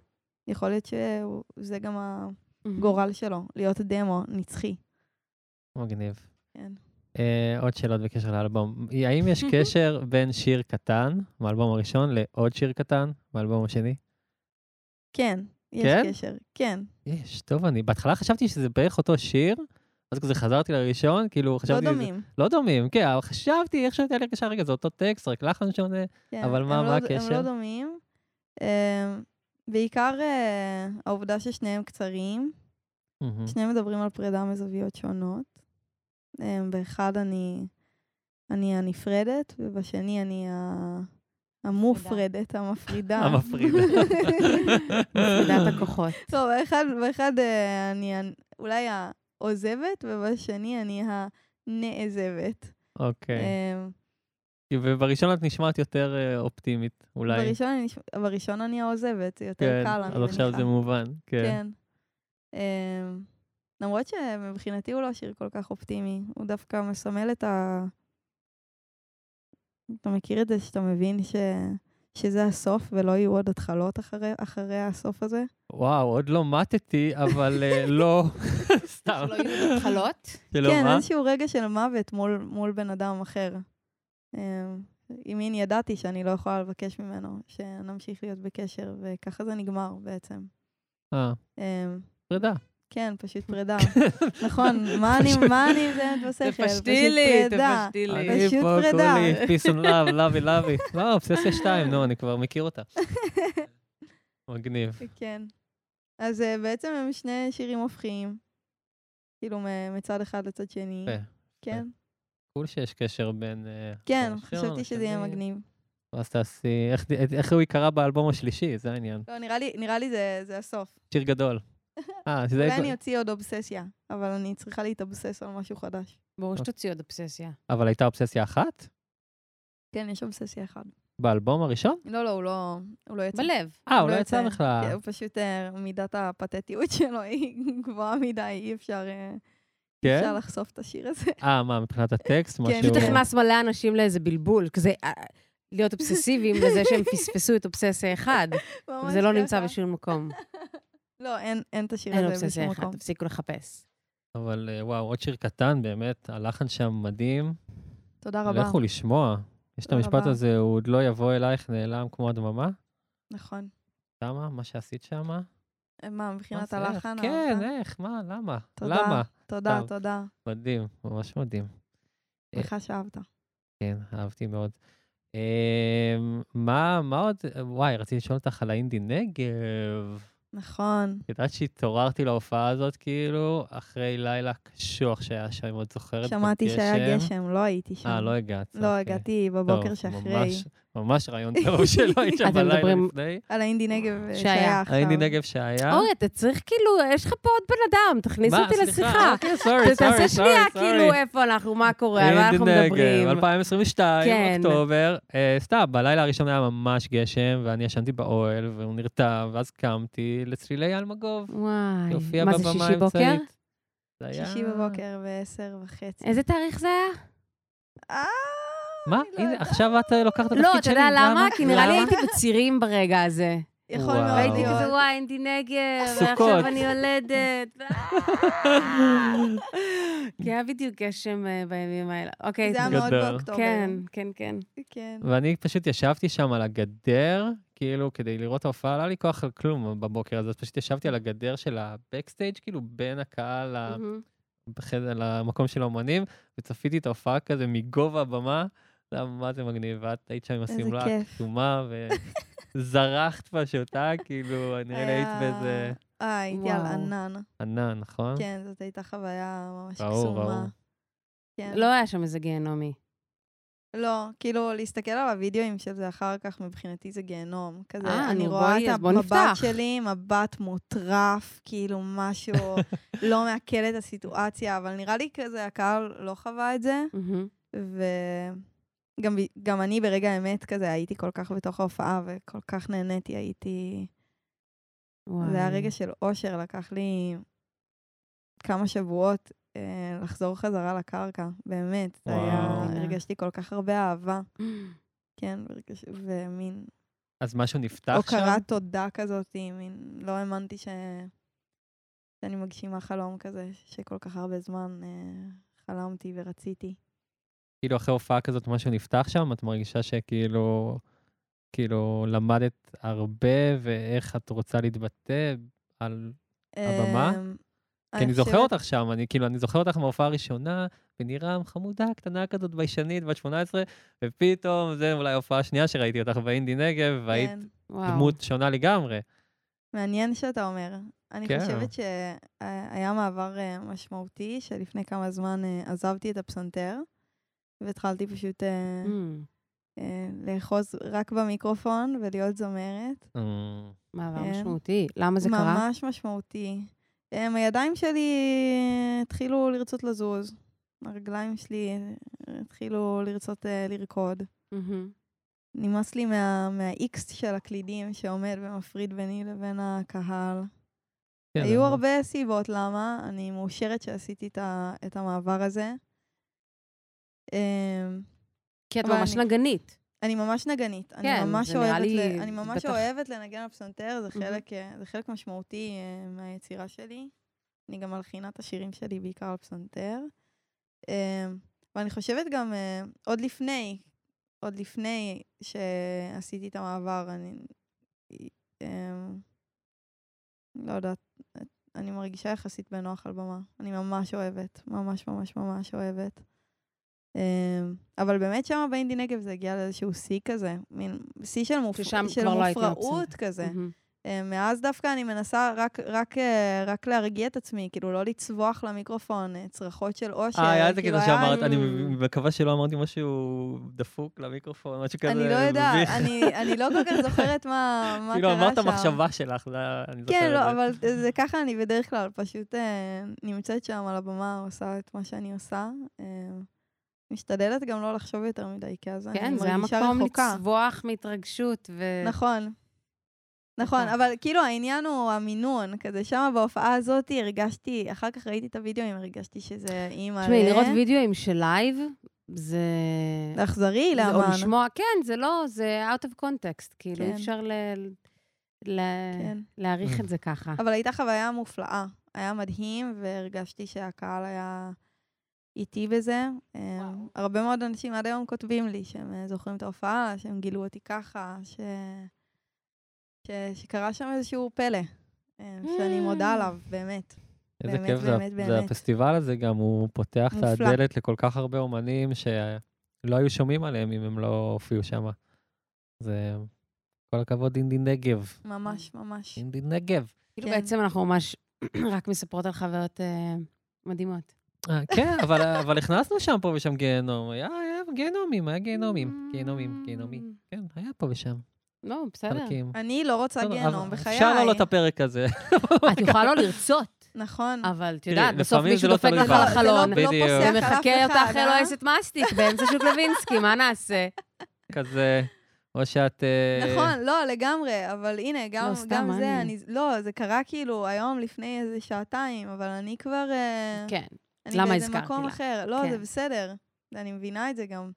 S3: יכול להיות שזה גם
S2: מהמם.
S3: הגורל שלו, להיות דמו נצחי.
S1: מגניב.
S3: כן.
S1: אה, עוד שאלות בקשר לאלבום. האם יש קשר בין שיר קטן, מהאלבום הראשון, לעוד שיר קטן, מהאלבום השני?
S3: כן, יש
S1: כן?
S3: קשר. כן.
S1: יש, טוב, אני בהתחלה חשבתי שזה בערך אותו שיר, אז כזה חזרתי לראשון, כאילו
S3: לא
S1: חשבתי...
S3: דומים.
S1: זה, לא דומים, כן, אבל חשבתי, איך שהייתה לי הרגשה, רגע, זה אותו טקסט, רק לחן שונה.
S3: כן,
S1: אבל מה-
S3: הם
S1: מה
S3: לא- הם
S1: הקשר?
S3: לא דומים. אה, בעיקר אה, העובדה ששניהם קצרים,
S1: מהמם.
S3: שניהם מדברים על פרידה מזוויות שונות. אה, באחד אני, אני הנפרדת, ובשני אני ה- המופרדת, המפרידה.
S1: המפרידה.
S2: פקודת הכוחות.
S3: טוב, באחד, באחד אה, אני ה- אולי העוזבת, ובשני אני הנעזבת.
S1: אוקיי.
S3: אה,
S1: כי- ובראשון את נשמעת יותר אה, אופטימית, אולי.
S3: בראשון אני נש- בראשון אני העוזבת, זה יותר
S1: כן,
S3: קל, אני
S1: אז עכשיו
S3: מניחה.
S1: זה מובן. כן.
S3: כן. אמ, למרות שמבחינתי הוא לא שיר כל כך אופטימי, הוא דווקא מסמל את ה... אתה מכיר את זה שאתה מבין ש... שזה הסוף ולא יהיו עוד התחלות אחרי, אחרי הסוף הזה?
S1: וואו, עוד לא מתתי, אבל אה, לא, סתם.
S2: שלא יהיו עוד התחלות.
S1: שלא
S3: כן,
S1: מה?
S3: איזשהו רגע של מוות מול, מול בן אדם אחר. אמ, עם מין ידעתי שאני לא יכולה לבקש ממנו שנמשיך להיות בקשר, וככה זה נגמר בעצם.
S1: אה,
S3: אמ,
S1: פרידה.
S3: כן, פשוט פרידה. נכון, מה אני, מה אני מזיינת בשכל? פשוט פרידה.
S2: כאילו,
S1: אני
S3: פשוט
S1: פה
S3: פרידה.
S1: כולי, peace and love, לווי לווי. לא, אובססיה 2, נו, אני כבר מכיר אותה. מגניב.
S3: כן. אז אה, בעצם הם שני שירים הופכים, כאילו מ- מצד אחד לצד שני.
S1: יפה,
S3: כן,
S1: קול שיש קשר בין... אה,
S3: כן,
S1: הראשון
S3: חשבתי שזה יהיה
S1: לשני.
S3: מגניב.
S1: ואז תעשי... איך- איך הוא ייקרא באלבום השלישי, זה העניין.
S3: לא, נראה לי, נראה לי זה, זה הסוף.
S1: שיר גדול. אה, זה...
S3: אולי אני אוציא עוד אובססיה, אבל אני צריכה להתאבסס על משהו חדש.
S2: ברור שתוציא עוד אובססיה.
S1: אבל הייתה אובססיה אחת?
S3: כן, יש אובססיה אחת.
S1: באלבום הראשון?
S3: לא, לא, הוא לא, הוא לא יצא.
S2: בלב.
S1: אה, הוא
S3: לא
S1: לא
S3: יצא.
S1: יצא בכלל.
S3: כן, הוא פשוט, אה, מידת הפתטיות שלו היא גבוהה מדי, אי אפשר, אה, אי
S1: כן?
S3: אפשר כן, לחשוף את השיר הזה.
S1: אה, מה, מבחינת הטקסט? משהו...
S2: פשוט הכנס מלא אנשים לאיזה בלבול, כזה אה, להיות אובססיביים לזה שהם פספסו את אובססיה אחד.
S3: ממש
S2: זה לא
S3: ככה.
S2: נמצא בשום מקום.
S3: לא, אין, אין את השיר
S2: אין
S3: הזה בשום
S2: אובססיה אחד,
S3: מקום.
S2: תפסיקו לחפש.
S1: אבל אה, וואו, עוד שיר קטן, באמת, הלחן שם מדהים.
S3: תודה רבה.
S1: לכו לשמוע. יש את
S3: תודה
S1: המשפט
S3: רבה.
S1: הזה, הוא עוד לא יבוא אלייך נעלם כמו הדממה.
S3: נכון.
S1: למה? מה שעשית שם?
S3: מה, מבחינת
S1: מה זה, איך?
S3: הלחן?
S1: כן,
S3: ההלחן?
S1: איך? מה? למה?
S3: תודה.
S1: למה?
S3: תודה,
S1: טוב.
S3: תודה.
S1: מדהים, ממש מדהים. אה.
S3: לך שאהבת.
S1: כן, אהבתי מאוד. אמ, מה, מה עוד? וואי, רציתי לשאול אותך על האינדי נגב.
S3: נכון.
S1: את יודעת שהתעוררתי להופעה הזאת, כאילו, אחרי לילה קשוח שהיה שם, אם את זוכרת,
S3: שמעתי שהיה
S1: בגשם.
S3: גשם, לא הייתי שם.
S1: אה, לא הגעת.
S3: לא,
S1: אוקיי.
S3: הגעתי
S1: טוב,
S3: בבוקר שאחרי.
S1: ממש- ממש רעיון טוב שלא היית שם
S2: אתם
S1: בלילה
S2: מדברים-
S1: לפני.
S3: על האינדי נגב אה,
S2: שהיה.
S3: שהיה עכשיו.
S1: האינדי נגב שהיה.
S2: אורי, אתה צריך כאילו, יש לך פה עוד בן אדם, תכניס
S1: אה? מה,
S2: אותי
S1: סליחה,
S2: לשיחה.
S1: אוקיי, סורי,
S2: ת-
S1: סורי, סורי,
S2: תעשה שנייה,
S1: סורי.
S2: כאילו, איפה אנחנו, מה קורה, על מה אנחנו
S1: אינדי נגב,
S2: מדברים.
S1: 2022,
S2: כן.
S1: אוקטובר. אה, סתם, בלילה הראשון היה ממש גשם, ואני ישנתי באוהל, והוא נרטב, ואז קמתי לצלילי אלמגוב.
S2: וואי,
S1: שהופיע
S2: מה זה,
S1: בבמה
S2: שישי בוקר?
S1: האמצעית. זה היה-
S3: שישי בבוקר ב-10 וחצי.
S2: איזה תאריך זה היה?
S3: אה,
S1: מה?
S3: אני לא
S1: הנה,
S3: יודעת.
S1: עכשיו את אה, לוקחת את התפקיד שלי.
S2: לא, אתה יודע למה? כי נראה לי
S1: למה?
S2: הייתי בצירים ברגע הזה.
S3: יכול
S1: וואו.
S3: מאוד
S2: והייתי
S1: וואו.
S2: כזה,
S3: להיות.
S2: וואי, אינדי נגב,
S1: סוכות.
S2: ועכשיו אני יולדת. כי היה בדיוק גשם אה, בימים האלה. אוקיי,
S3: זה היה
S2: תודה.
S3: מאוד
S1: גדול.
S3: באוקטובר.
S2: כן, כן, כן.
S3: כן.
S1: ואני פשוט ישבתי שם על הגדר, כאילו, כדי לראות את ההופעה, לא היה לי כוח על כלום בבוקר הזה, אז פשוט ישבתי על הגדר של הבקסטייג', כאילו, בין הקהל ל-
S2: מהמם.
S1: בחדר, למקום של האומנים, וצפיתי את ההופעה כזה מגובה הבמה, זה היה מה זה מגניב, ואת היית שם עם
S3: איזה
S1: השמלה
S3: כיף.
S1: הכתומה, וזרחת פשוט, אה? כאילו, נראה לי היית
S3: היה-
S1: באיזה
S3: אה, הייתי על
S2: וואו.
S3: ענן.
S1: ענן, נכון?
S3: כן, זאת הייתה חוויה ממש
S1: ברור,
S3: קסומה.
S1: ברור.
S3: כן.
S2: לא היה שם איזה גיהנומי.
S3: לא, כאילו, להסתכל על הוידאוים של זה אחר כך, מבחינתי זה גיהנום. כזה,
S2: אה,
S3: אני
S2: נו,
S3: רואה
S2: בואי,
S3: את
S2: אז בוא
S3: המבט
S2: נפתח.
S3: שלי, מבט מוטרף, כאילו משהו לא מעכל את הסיטואציה, אבל נראה לי כזה, הקהל לא חווה את זה,
S2: מהמם.
S3: וגם ב- גם אני ברגע האמת כזה הייתי כל כך בתוך ההופעה, וכל כך נהניתי, הייתי...
S2: וואי.
S3: זה היה רגע של אושר, לקח לי כמה שבועות אה, לחזור חזרה לקרקע, באמת. זה היה,
S1: וואו.
S3: הרגשתי כל כך הרבה אהבה, כן, והרגש- ומין
S1: אז משהו נפתח שם?
S3: הוקרת תודה כזאת, מין, לא האמנתי ש... שאני מגשימה חלום כזה, שכל כך הרבה זמן אה, חלמתי ורציתי.
S1: כאילו, אחרי הופעה כזאת, משהו נפתח שם? את מרגישה שכאילו, כאילו, למדת הרבה, ואיך את רוצה להתבטא על הבמה?
S3: אמ,
S1: כי אני זוכר
S3: חושבת-
S1: אותך שם, אני כאילו, אני זוכר אותך מההופעה הראשונה, בנירם, חמודה, קטנה כזאת, ביישנית, בת 18, ופתאום, זה אולי ההופעה השנייה שראיתי אותך באינדי נגב, והיית
S3: כן.
S2: וואו.
S1: דמות שונה לגמרי.
S3: מעניין שאתה אומר. אני
S1: כן.
S3: כן. חושבת שהיה מעבר אה, משמעותי, שלפני כמה זמן אה, עזבתי את הפסנתר, והתחלתי פשוט אה,
S2: אמ,
S3: אה, לאחוז רק במיקרופון ולהיות זמרת.
S1: אה,
S2: מעבר
S3: כן.
S2: משמעותי. למה זה קרה?
S3: ממש משמעותי. הם, הידיים שלי אה, התחילו לרצות לזוז, הרגליים שלי אה, התחילו לרצות אה, לרקוד.
S2: מהמם.
S3: נמאס לי מה, מהאיקס של הקלידים שעומד ומפריד ביני לבין הקהל.
S1: כן,
S3: היו
S1: אז-
S3: הרבה סיבות למה, אני מאושרת שעשיתי את, ה, את המעבר הזה. אמ,
S2: כי את
S3: אבל
S2: ממש
S3: אני-
S2: נגנית.
S3: אני ממש נגנית,
S2: כן,
S3: אני ממש
S2: זה נראה
S3: אוהבת,
S2: לי-
S3: ל, אני ממש
S2: בטח.
S3: אוהבת לנגן על פסנתר, זה
S2: מהמם.
S3: חלק, אה, זה חלק משמעותי אה, מהיצירה שלי. אני גם מלחינה את השירים שלי בעיקר על פסנתר. אמ, ואני חושבת גם, אה, עוד לפני, עוד לפני שעשיתי את המעבר, אני... אמ, לא יודעת, אני מרגישה יחסית בנוח על במה. אני ממש אוהבת, ממש ממש ממש אוהבת. אמ, אבל באמת שם באינדי נגב זה הגיע לאיזשהו שיא כזה, מין שיא של, מופ...
S2: ששם
S3: של
S2: כבר לא הייתי
S3: מופרעות כזה.
S2: מהמם.
S3: אה, מאז דווקא אני מנסה רק, רק, אה, רק להרגיע את עצמי, כאילו לא לצווח למיקרופון אה, צרחות של אושר.
S1: אה, היה את זה
S3: כאילו,
S1: כזה שאמרת, אני
S2: היה-
S1: מקווה שלא אמרתי משהו דפוק למיקרופון, משהו כזה
S3: אני לא יודעת,
S1: מביך.
S3: אני, אני לא כל כך זוכרת מה, מה
S1: כאילו,
S3: קרה שם.
S1: אמרת מחשבה שלך, זה היה- אני זוכר
S3: כן,
S1: את
S3: לא,
S1: זה.
S3: אבל זה ככה אני בדרך כלל, פשוט אה, נמצאת שם על הבמה, עושה את מה שאני עושה. אה, משתדלת גם לא לחשוב יותר מדי, כי אז אני
S2: כן, זה
S3: מרגישה
S2: המקום
S3: רחוקה.
S2: לצבוח מהתרגשות. ו-
S3: נכון. נכון,
S2: נכון.
S3: אבל כאילו העניין הוא המינון, כזה שם בהופעה הזאת הרגשתי, אחר כך ראיתי את הוידאוים, הרגשתי שזה אימא ל...
S2: תשמעי, לראות וידאוים של לייב, זה...
S3: זה אכזרי,
S2: זה- או
S3: לאמן.
S2: לשמוע, כן, זה לא, זה out of context, כאילו, אי
S3: כן.
S2: אפשר ל- ל-
S3: כן.
S2: להעריך את זה ככה.
S3: אבל הייתה חוויה מופלאה. היה מדהים, והרגשתי שהקהל היה איתי בזה. אה, הרבה מאוד אנשים עד היום כותבים לי שהם אה, זוכרים את ההופעה, שהם גילו אותי ככה, ש... ש... שקרה שם איזשהו פלא, אה, שאני מודה
S2: Mm.
S3: עליו, באמת.
S1: איזה
S3: באמת,
S1: כיף זה,
S3: באמת,
S1: זה
S3: באמת.
S1: הפסטיבל הזה גם, הוא פותח את
S3: מופלא.
S1: הדלת לכל כך הרבה אומנים שלא היו שומעים עליהם אם הם לא הופיעו שם. זה... כל הכבוד, אינדי נגב.
S3: ממש, ממש.
S1: אינדי נגב.
S2: כאילו,
S3: כן.
S2: בעצם אנחנו ממש רק מספרות על חוויות אה, מדהימות.
S1: אה, כן, אבל, אבל הכנסנו שם פה ושם גיהנום. היה, היה גיהנומים, היה
S3: Mm.
S1: גיהנומים. גיהנומים, גיהנומי. כן, היה פה ושם.
S2: לא, בסדר.
S1: חלקים.
S3: אני לא רוצה
S1: בסדר,
S3: גיהנום,
S1: אבל
S3: בחיי.
S1: אפשר להעלות את הפרק הזה.
S2: את יכולה לא לרצות,
S3: נכון.
S2: אבל את
S1: תראי,
S2: יודעת, בסוף
S1: לפעמים
S2: מישהו
S1: זה לא
S2: דופק
S1: תלוי
S2: לך
S1: בך.
S2: על
S1: זה לא-
S2: החלון.
S1: בדיוק.
S3: פוסח על אף
S2: ומחכה אותך
S3: אחד,
S2: אחרי
S3: אה?
S2: לועסת מסטיק באמצע שוק לוינסקי, מה נעשה?
S1: כזה, או שאת... אה,
S3: נכון, לא, לגמרי, אבל הנה, גם,
S2: לא, סתם,
S3: גם
S2: מה
S3: זה,
S2: אני-
S3: אני... לא, זה קרה כאילו היום לפני איזה שעתיים, אבל אני כבר... אה,
S2: כן.
S3: אני
S2: למה
S3: באיזה
S2: הזכרתי
S3: מקום
S2: לך?
S3: אחר. לא, זה
S2: כן.
S3: בסדר. אני מבינה את זה גם.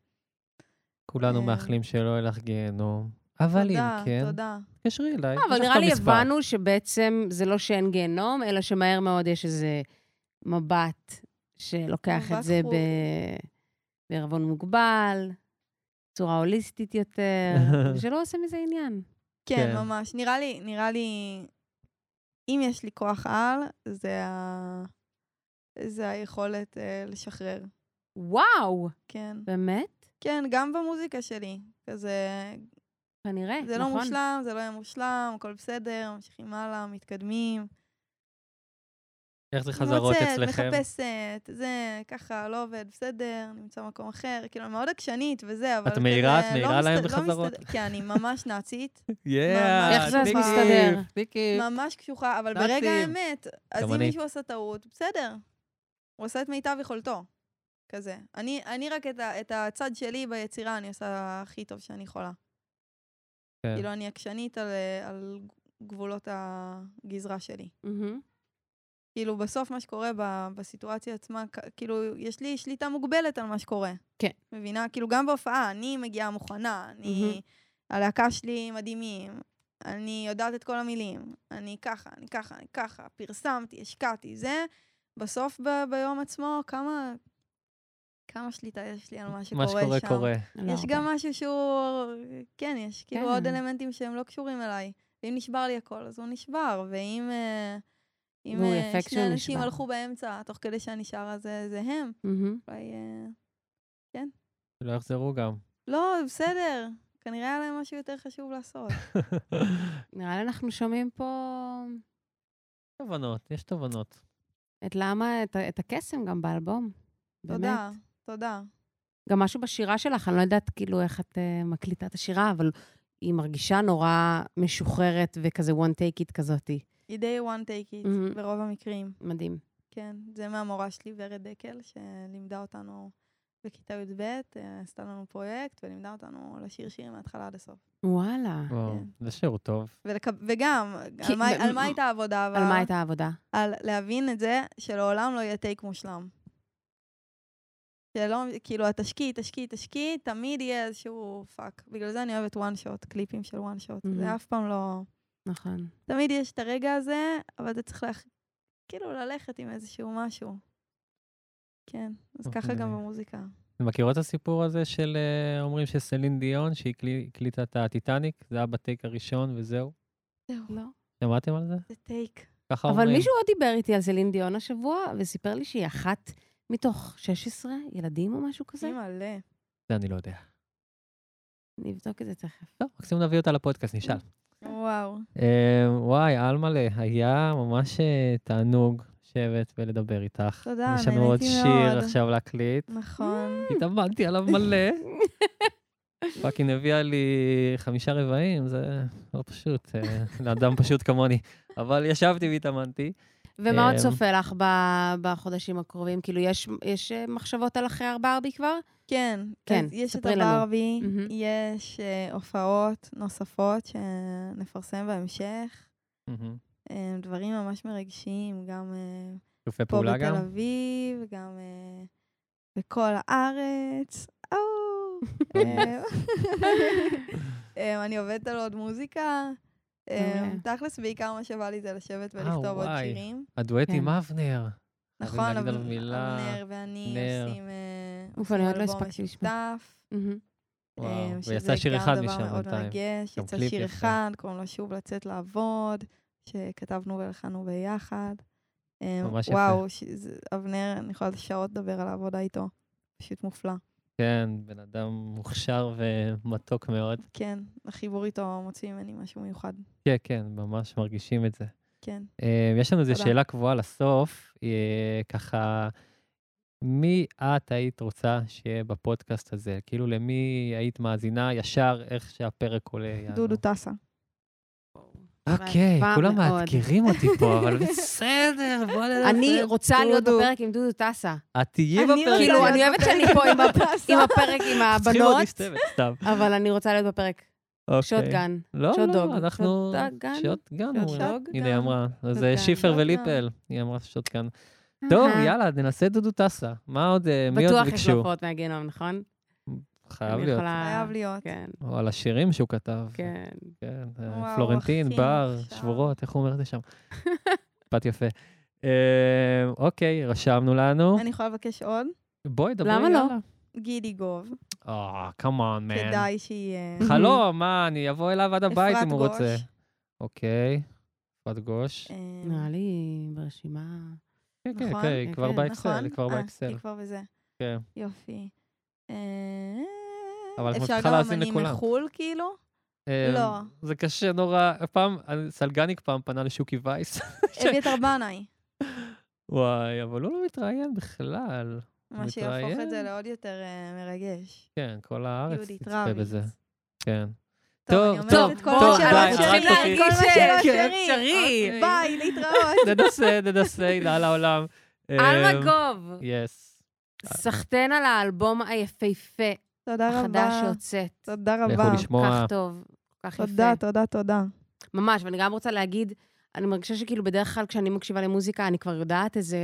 S1: כולנו
S3: אה.
S1: מאחלים שלא יהיה לך גיהנום. אבל אם
S3: תודה,
S1: כן,
S3: תודה.
S1: תתקשרי אליי. יש
S2: לא, אבל
S1: לך
S2: נראה
S1: את
S2: לי
S1: המספר.
S2: הבנו שבעצם זה לא שאין גיהנום, אלא שמהר מאוד יש איזה מבט שלוקח
S3: מבט
S2: את זה
S3: חור.
S2: ב- בערבון מוגבל, בצורה הוליסטית יותר, ושלא עושה מזה עניין.
S3: כן,
S1: כן.
S3: ממש. נראה לי, נראה לי, אם יש לי כוח על, זה, ה... זה היכולת אה, לשחרר.
S2: וואו,
S3: כן.
S2: באמת?
S3: כן, גם במוזיקה שלי. כזה,
S2: כנראה,
S3: זה לא
S2: נכון.
S3: מושלם, זה לא יהיה מושלם, הכל בסדר, ממשיכים הלאה, מתקדמים.
S1: איך זה חזרות
S3: מוצאת,
S1: אצלכם?
S3: מחפשת, זה, ככה, לא עובד, בסדר, נמצא מקום אחר. כאילו, אני מאוד עקשנית וזה, אבל...
S1: את מעירה,
S3: כזה
S1: את
S3: לא
S1: מעירה להם
S3: מסת- לא
S1: בחזרות?
S3: מסתדר- כן, אני ממש נאצית.
S1: יאה,
S3: איך זה
S1: טיקיף,
S2: מסתדר?
S1: טיקיף.
S3: ממש קשוחה, אבל
S1: נאצים.
S3: ברגע האמת, אז
S1: גם
S3: אם
S1: אני.
S3: מישהו עשה טעות, בסדר. הוא עשה את מיטב יכולתו, כזה. אני, אני רק את, ה, את הצד שלי ביצירה, אני עושה הכי טוב שאני יכולה.
S1: כן.
S3: כאילו, אני עקשנית על, אה, על גבולות הגזרה שלי.
S2: מהמם.
S3: כאילו, בסוף מה שקורה ב, בסיטואציה עצמה, כ- כאילו, יש לי שליטה מוגבלת על מה שקורה.
S2: כן.
S3: מבינה? כאילו, גם בהופעה, אני מגיעה מוכנה,
S2: מהמם.
S3: אני... הלהקה שלי מדהימים, אני יודעת את כל המילים, אני ככה, אני ככה, אני ככה, פרסמתי, השקעתי, זה. בסוף ב- ביום עצמו, כמה... כמה שליטה יש לי על מה שקורה
S1: מה
S3: שם.
S1: שקורה קורה.
S2: לא
S3: יש
S2: הרבה.
S3: גם משהו שהוא... כן, יש כאילו
S2: כן.
S3: עוד אלמנטים שהם לא קשורים אליי. ואם נשבר לי הכל, אז הוא נשבר. ואם... אה, אם
S2: והוא
S3: אה,
S2: יפה
S3: שני
S2: כשהוא
S3: אנשים
S2: נשבר.
S3: הלכו באמצע, תוך כדי שאני שרה, זה, זה הם.
S2: מהמם.
S3: אולי... אה,
S1: שלא יחזרו גם.
S3: לא, בסדר. כנראה היה להם משהו יותר חשוב לעשות.
S2: נראה לי אנחנו שומעים פה
S1: תובנות, יש תובנות.
S2: את למה, את ה- את הקסם גם באלבום.
S3: תודה,
S2: באמת.
S3: תודה.
S2: גם משהו בשירה שלך, אני לא יודעת כאילו איך את אה, מקליטה את השירה, אבל היא מרגישה נורא משוחררת וכזה one take it כזאתי.
S3: You day one take it,
S2: מהמם.
S3: ברוב המקרים.
S2: מדהים.
S3: כן, זה מהמורה שלי, ורד דקל, שלימדה אותנו בכיתה י"ב, אה, עשתה לנו פרויקט, ולימדה אותנו לשיר שירים מההתחלה עד הסוף.
S2: וואלה.
S1: וואו, זה שיעור טוב.
S3: ולק... וגם,
S2: כי-
S3: על, מה,
S2: ב-
S3: על מה הייתה העבודה?
S2: על מה הייתה העבודה?
S3: על להבין את זה שלעולם לא יהיה טייק מושלם. שלא, כאילו, התשקיט, תשקיט, תשקיט, תמיד יהיה איזשהו פאק. בגלל זה אני אוהבת וואן שוט, קליפים של וואן שוט.
S2: מהמם.
S3: זה אף פעם לא...
S2: נכון.
S3: תמיד יש את הרגע הזה, אבל אתה צריך ללכת, כאילו ללכת עם איזשהו משהו. כן, אז
S1: אוקיי.
S3: ככה גם במוזיקה.
S1: אתם מכירות את הסיפור הזה של, אה, אומרים שסלין דיון, שהיא הקלי- הקליטה את הטיטניק, זה היה בטייק הראשון וזהו?
S3: זהו,
S2: לא.
S1: שמעתם על זה?
S3: זה טייק.
S1: ככה אומרים.
S2: אבל מישהו עוד דיבר איתי על סלין דיון השבוע, וסיפר לי שהיא אחת מתוך 16 ילדים או משהו כזה.
S3: זה מלא.
S1: זה אני לא יודע.
S2: נבדוק את זה תכף.
S1: לא, מקסימום נביא אותה לפודקאסט, נשאל.
S3: וואו.
S1: אה, וואי, אלמלה, היה ממש אה, תענוג לשבת ולדבר איתך.
S3: תודה,
S1: יש לנו עוד
S3: נהניתי
S1: שיר
S3: מאוד.
S1: עכשיו להקליט.
S3: נכון.
S1: התאמנתי עליו מלא. פאקינג הביאה לי חמישה רבעים, זה לא פשוט, אה, לאדם פשוט כמוני. אבל ישבתי והתאמנתי.
S2: ומה עוד
S1: אמ,
S2: צופה לך ב- בחודשים הקרובים? כאילו, יש- יש אה, מחשבות על אחרי ארבע ארבי כבר?
S3: כן,
S2: כן,
S3: כן. אז יש את
S2: ספרי לנו.
S3: הברבי,
S2: מהמם.
S3: יש אה, הופעות נוספות שנפרסם בהמשך,
S1: מהמם.
S3: אה, דברים ממש מרגשים, גם אה,
S1: שיתופי
S3: פה
S1: פעולה גם.
S3: בתל אביב, גם אה, בכל הארץ. אוו, אה, אה, אני עובדת על עוד מוזיקה. אה,
S2: מעולה.
S3: תכלס, בעיקר מה שבא לי זה לשבת
S1: אה,
S3: ולכתוב עוד
S1: וואי.
S3: שירים.
S1: הדואט
S2: כן.
S1: עם אבנר.
S3: נכון,
S1: להגיד עליו
S3: אבנ-
S1: מילה.
S3: אבנר ואני
S1: נר.
S3: עושים אה,
S2: אוף,
S3: עושים
S2: אני עוד לא
S3: אלבום
S2: הספקתי לשמוע.
S3: משותף.
S2: מהמם.
S1: וואו,
S3: אה,
S1: ויצא שיר אחד
S3: שזה גם
S1: משם
S3: דבר מאוד
S1: בינתיים.
S3: מרגש,
S1: גם
S3: יצא
S1: קליפ
S3: שיר
S1: יפה.
S3: אחד, קוראים לו שוב לצאת לעבוד, שכתבנו והלחנו ביחד. אה,
S1: ממש יפה.
S3: וואו, ש- זה- אבנר, אני יכולה שעות לדבר על העבודה איתו, פשוט מופלא.
S1: כן, בן אדם מוכשר ומתוק מאוד.
S3: כן, החיבור איתו מוציא ממני משהו מיוחד,
S1: כן, כן, ממש מרגישים את זה.
S3: כן.
S1: אה, יש לנו איזו
S3: תודה.
S1: שאלה קבועה לסוף, אה, ככה, מי את היית רוצה שיהיה בפודקאסט הזה? כאילו, למי היית מאזינה ישר איך שהפרק עולה? יענו.
S3: דודו טסה.
S1: אוקיי,
S2: רעבה
S1: כולם
S2: מאוד.
S1: מאתגרים אותי פה, אבל בסדר, בוא נלך.
S2: אני רוצה להיות
S3: דודו.
S2: בפרק עם דודו טסה.
S1: את תהיי
S3: אני
S1: בפרק.
S3: רוצה
S2: כאילו,
S3: להיות
S2: אני אוהבת שאני
S3: בפרק
S2: פה עם
S3: דודו
S2: הפ-
S3: טסה.
S2: עם הפרק עם
S1: צריכים עוד
S2: הבנות,
S1: להשתבת, סתם.
S2: אבל אני רוצה להיות בפרק.
S1: אוקיי.
S2: שוטגן.
S1: לא,
S2: שוטדוג.
S1: לא, אנחנו...
S2: שוטגן?
S1: שוטגן. אומרים.
S2: שוטדוג?
S1: הנה, היא אמרה. אז
S2: שוטגן.
S1: אה, שיפר
S3: שוטגן.
S1: וליפל. היא אמרה שוטגן. טוב,
S2: אהה.
S1: יאללה, ננסה דודו טסה. מה עוד, אה, מי עוד
S2: בטוח יש לו
S1: ביקשו?
S2: פרעות מהגיהנום, נכון?
S1: חייב
S2: אני
S1: להיות.
S2: יכולה-
S3: חייב להיות.
S2: כן,
S1: או על השירים שהוא כתב.
S2: כן.
S1: כן, אה,
S3: וואו,
S1: פלורנטין,
S3: אחי,
S1: בר,
S3: עכשיו.
S1: שבורות, איך הוא אומר את זה שם? משפט יפה. אה, אוקיי, רשמנו לנו.
S3: אני יכולה לבקש עוד?
S1: בואי, דברי.
S2: למה לא?
S1: יאללה.
S3: גידי גוב.
S1: אה, come on, man.
S3: כדאי שיהיה.
S1: חלום, מה, אני אבוא אליו עד הבית אם הוא
S3: אפרת
S1: רוצה.
S3: גוש,
S1: אוקיי, אפרת גוש.
S3: אה,
S2: נראה לי ברשימה...
S1: כן, כן,
S3: נכון,
S1: כן, היא כבר
S2: כן,
S1: באקסל,
S3: נכון?
S1: היא כבר
S3: אה,
S1: באקסל.
S3: היא כבר בזה.
S1: כן.
S3: יופי. אה,
S1: אבל את
S3: אפשר
S1: מצליחה
S3: גם
S1: להאזין
S3: אמנים
S1: לכולם.
S3: מחו"ל, כאילו?
S1: אה,
S3: לא.
S1: זה קשה נורא. פעם, אה, סלגניק פעם פנה לשוקי וייס.
S3: אביתר בנאי.
S1: וואי, אבל הוא לא מתראיין בכלל.
S3: מה שיהפוך
S1: מתראיין.
S3: את זה לעוד יותר אה, מרגש.
S1: כן, כל הארץ
S3: יהודית
S1: תצפה
S3: רביץ.
S1: בזה. כן.
S3: טוב, אני
S1: טוב,
S3: אומרת את כל
S1: טוב,
S3: מה שלא
S1: די,
S3: אפשרי.
S1: הרגת אותי.
S3: כל אוקיי. מה שלא
S2: כן,
S3: אפשרי.
S2: אפשרי.
S3: ביי, להתראות.
S1: ננסה, ננסה, הנה על העולם. אמ,
S2: עלמה גוב,
S1: יס.
S2: סחטיין על האלבום היפהפה
S3: תודה
S2: החדש
S3: רבה.
S2: שהוצאת.
S3: תודה
S1: לכו
S3: רבה.
S1: לשמוע.
S2: כך טוב, כל כך יפה.
S3: תודה, תודה, תודה.
S2: ממש, ואני גם רוצה להגיד, אני מרגישה שכאילו בדרך כלל כשאני מקשיבה למוזיקה, אני כבר יודעת איזה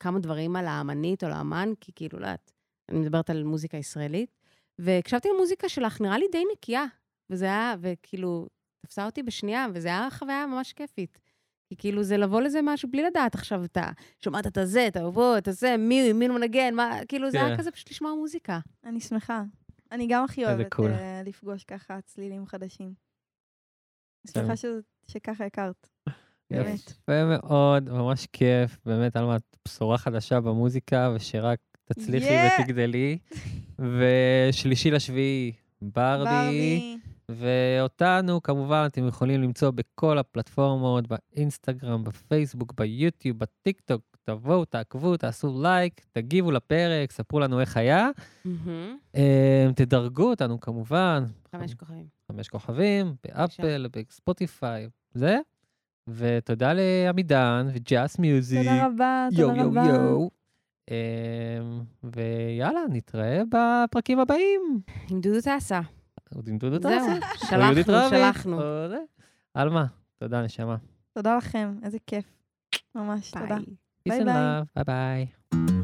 S2: כמה דברים על האמנית או לאמן, כי כאילו, לא יודעת, אני מדברת על מוזיקה ישראלית. והקשבתי למוזיקה שלך, נראה לי די נקייה, וזה היה, וכאילו, תפסה אותי בשנייה, וזה היה חוויה ממש כיפית. כי כאילו זה לבוא לזה משהו בלי לדעת עכשיו, אתה שומעת את הזה, את האובו, את הזה, מי הוא, מי הוא מנגן, מה, כאילו זה
S1: כן.
S2: היה כזה פשוט לשמוע מוזיקה.
S3: אני שמחה. אני גם הכי
S1: איזה
S3: אוהבת
S1: קול.
S3: אה, לפגוש ככה צלילים חדשים. אני
S1: כן.
S3: שמחה שזה- שככה הכרת. באמת.
S1: יפה מאוד, ממש כיף. באמת, עלמה, את בשורה חדשה במוזיקה, ושרק תצליחי
S3: Yeah.
S1: ותגדלי. ושלישי לשביעי, ברבי. ואותנו, כמובן, אתם יכולים למצוא בכל הפלטפורמות, באינסטגרם, בפייסבוק, ביוטיוב, בטיקטוק. תבואו, תעקבו, תעשו לייק, תגיבו לפרק, ספרו לנו איך היה. אה, תדרגו אותנו, כמובן,
S2: חמש כוכבים.
S1: חמש כוכבים, באפל,
S2: בבקשה.
S1: בספוטיפיי, זה. ותודה לעמידן וג'אס מיוזיק.
S3: תודה רבה, תודה רבה.
S1: יואו, יואו, יואו. אמ, ויאללה, נתראה בפרקים הבאים.
S2: עם דודו טסה.
S1: עוד עם דודו
S2: זהו,
S1: טסה. או
S2: שלחנו,
S1: יהודית רביץ,
S2: שלחנו.
S1: או זה. עלמה, תודה, נשמה.
S3: תודה לכם, איזה כיף. ממש, תודה.
S2: ביי.
S1: Peace
S3: ביי
S1: and
S3: ביי.
S1: love, ביי ביי.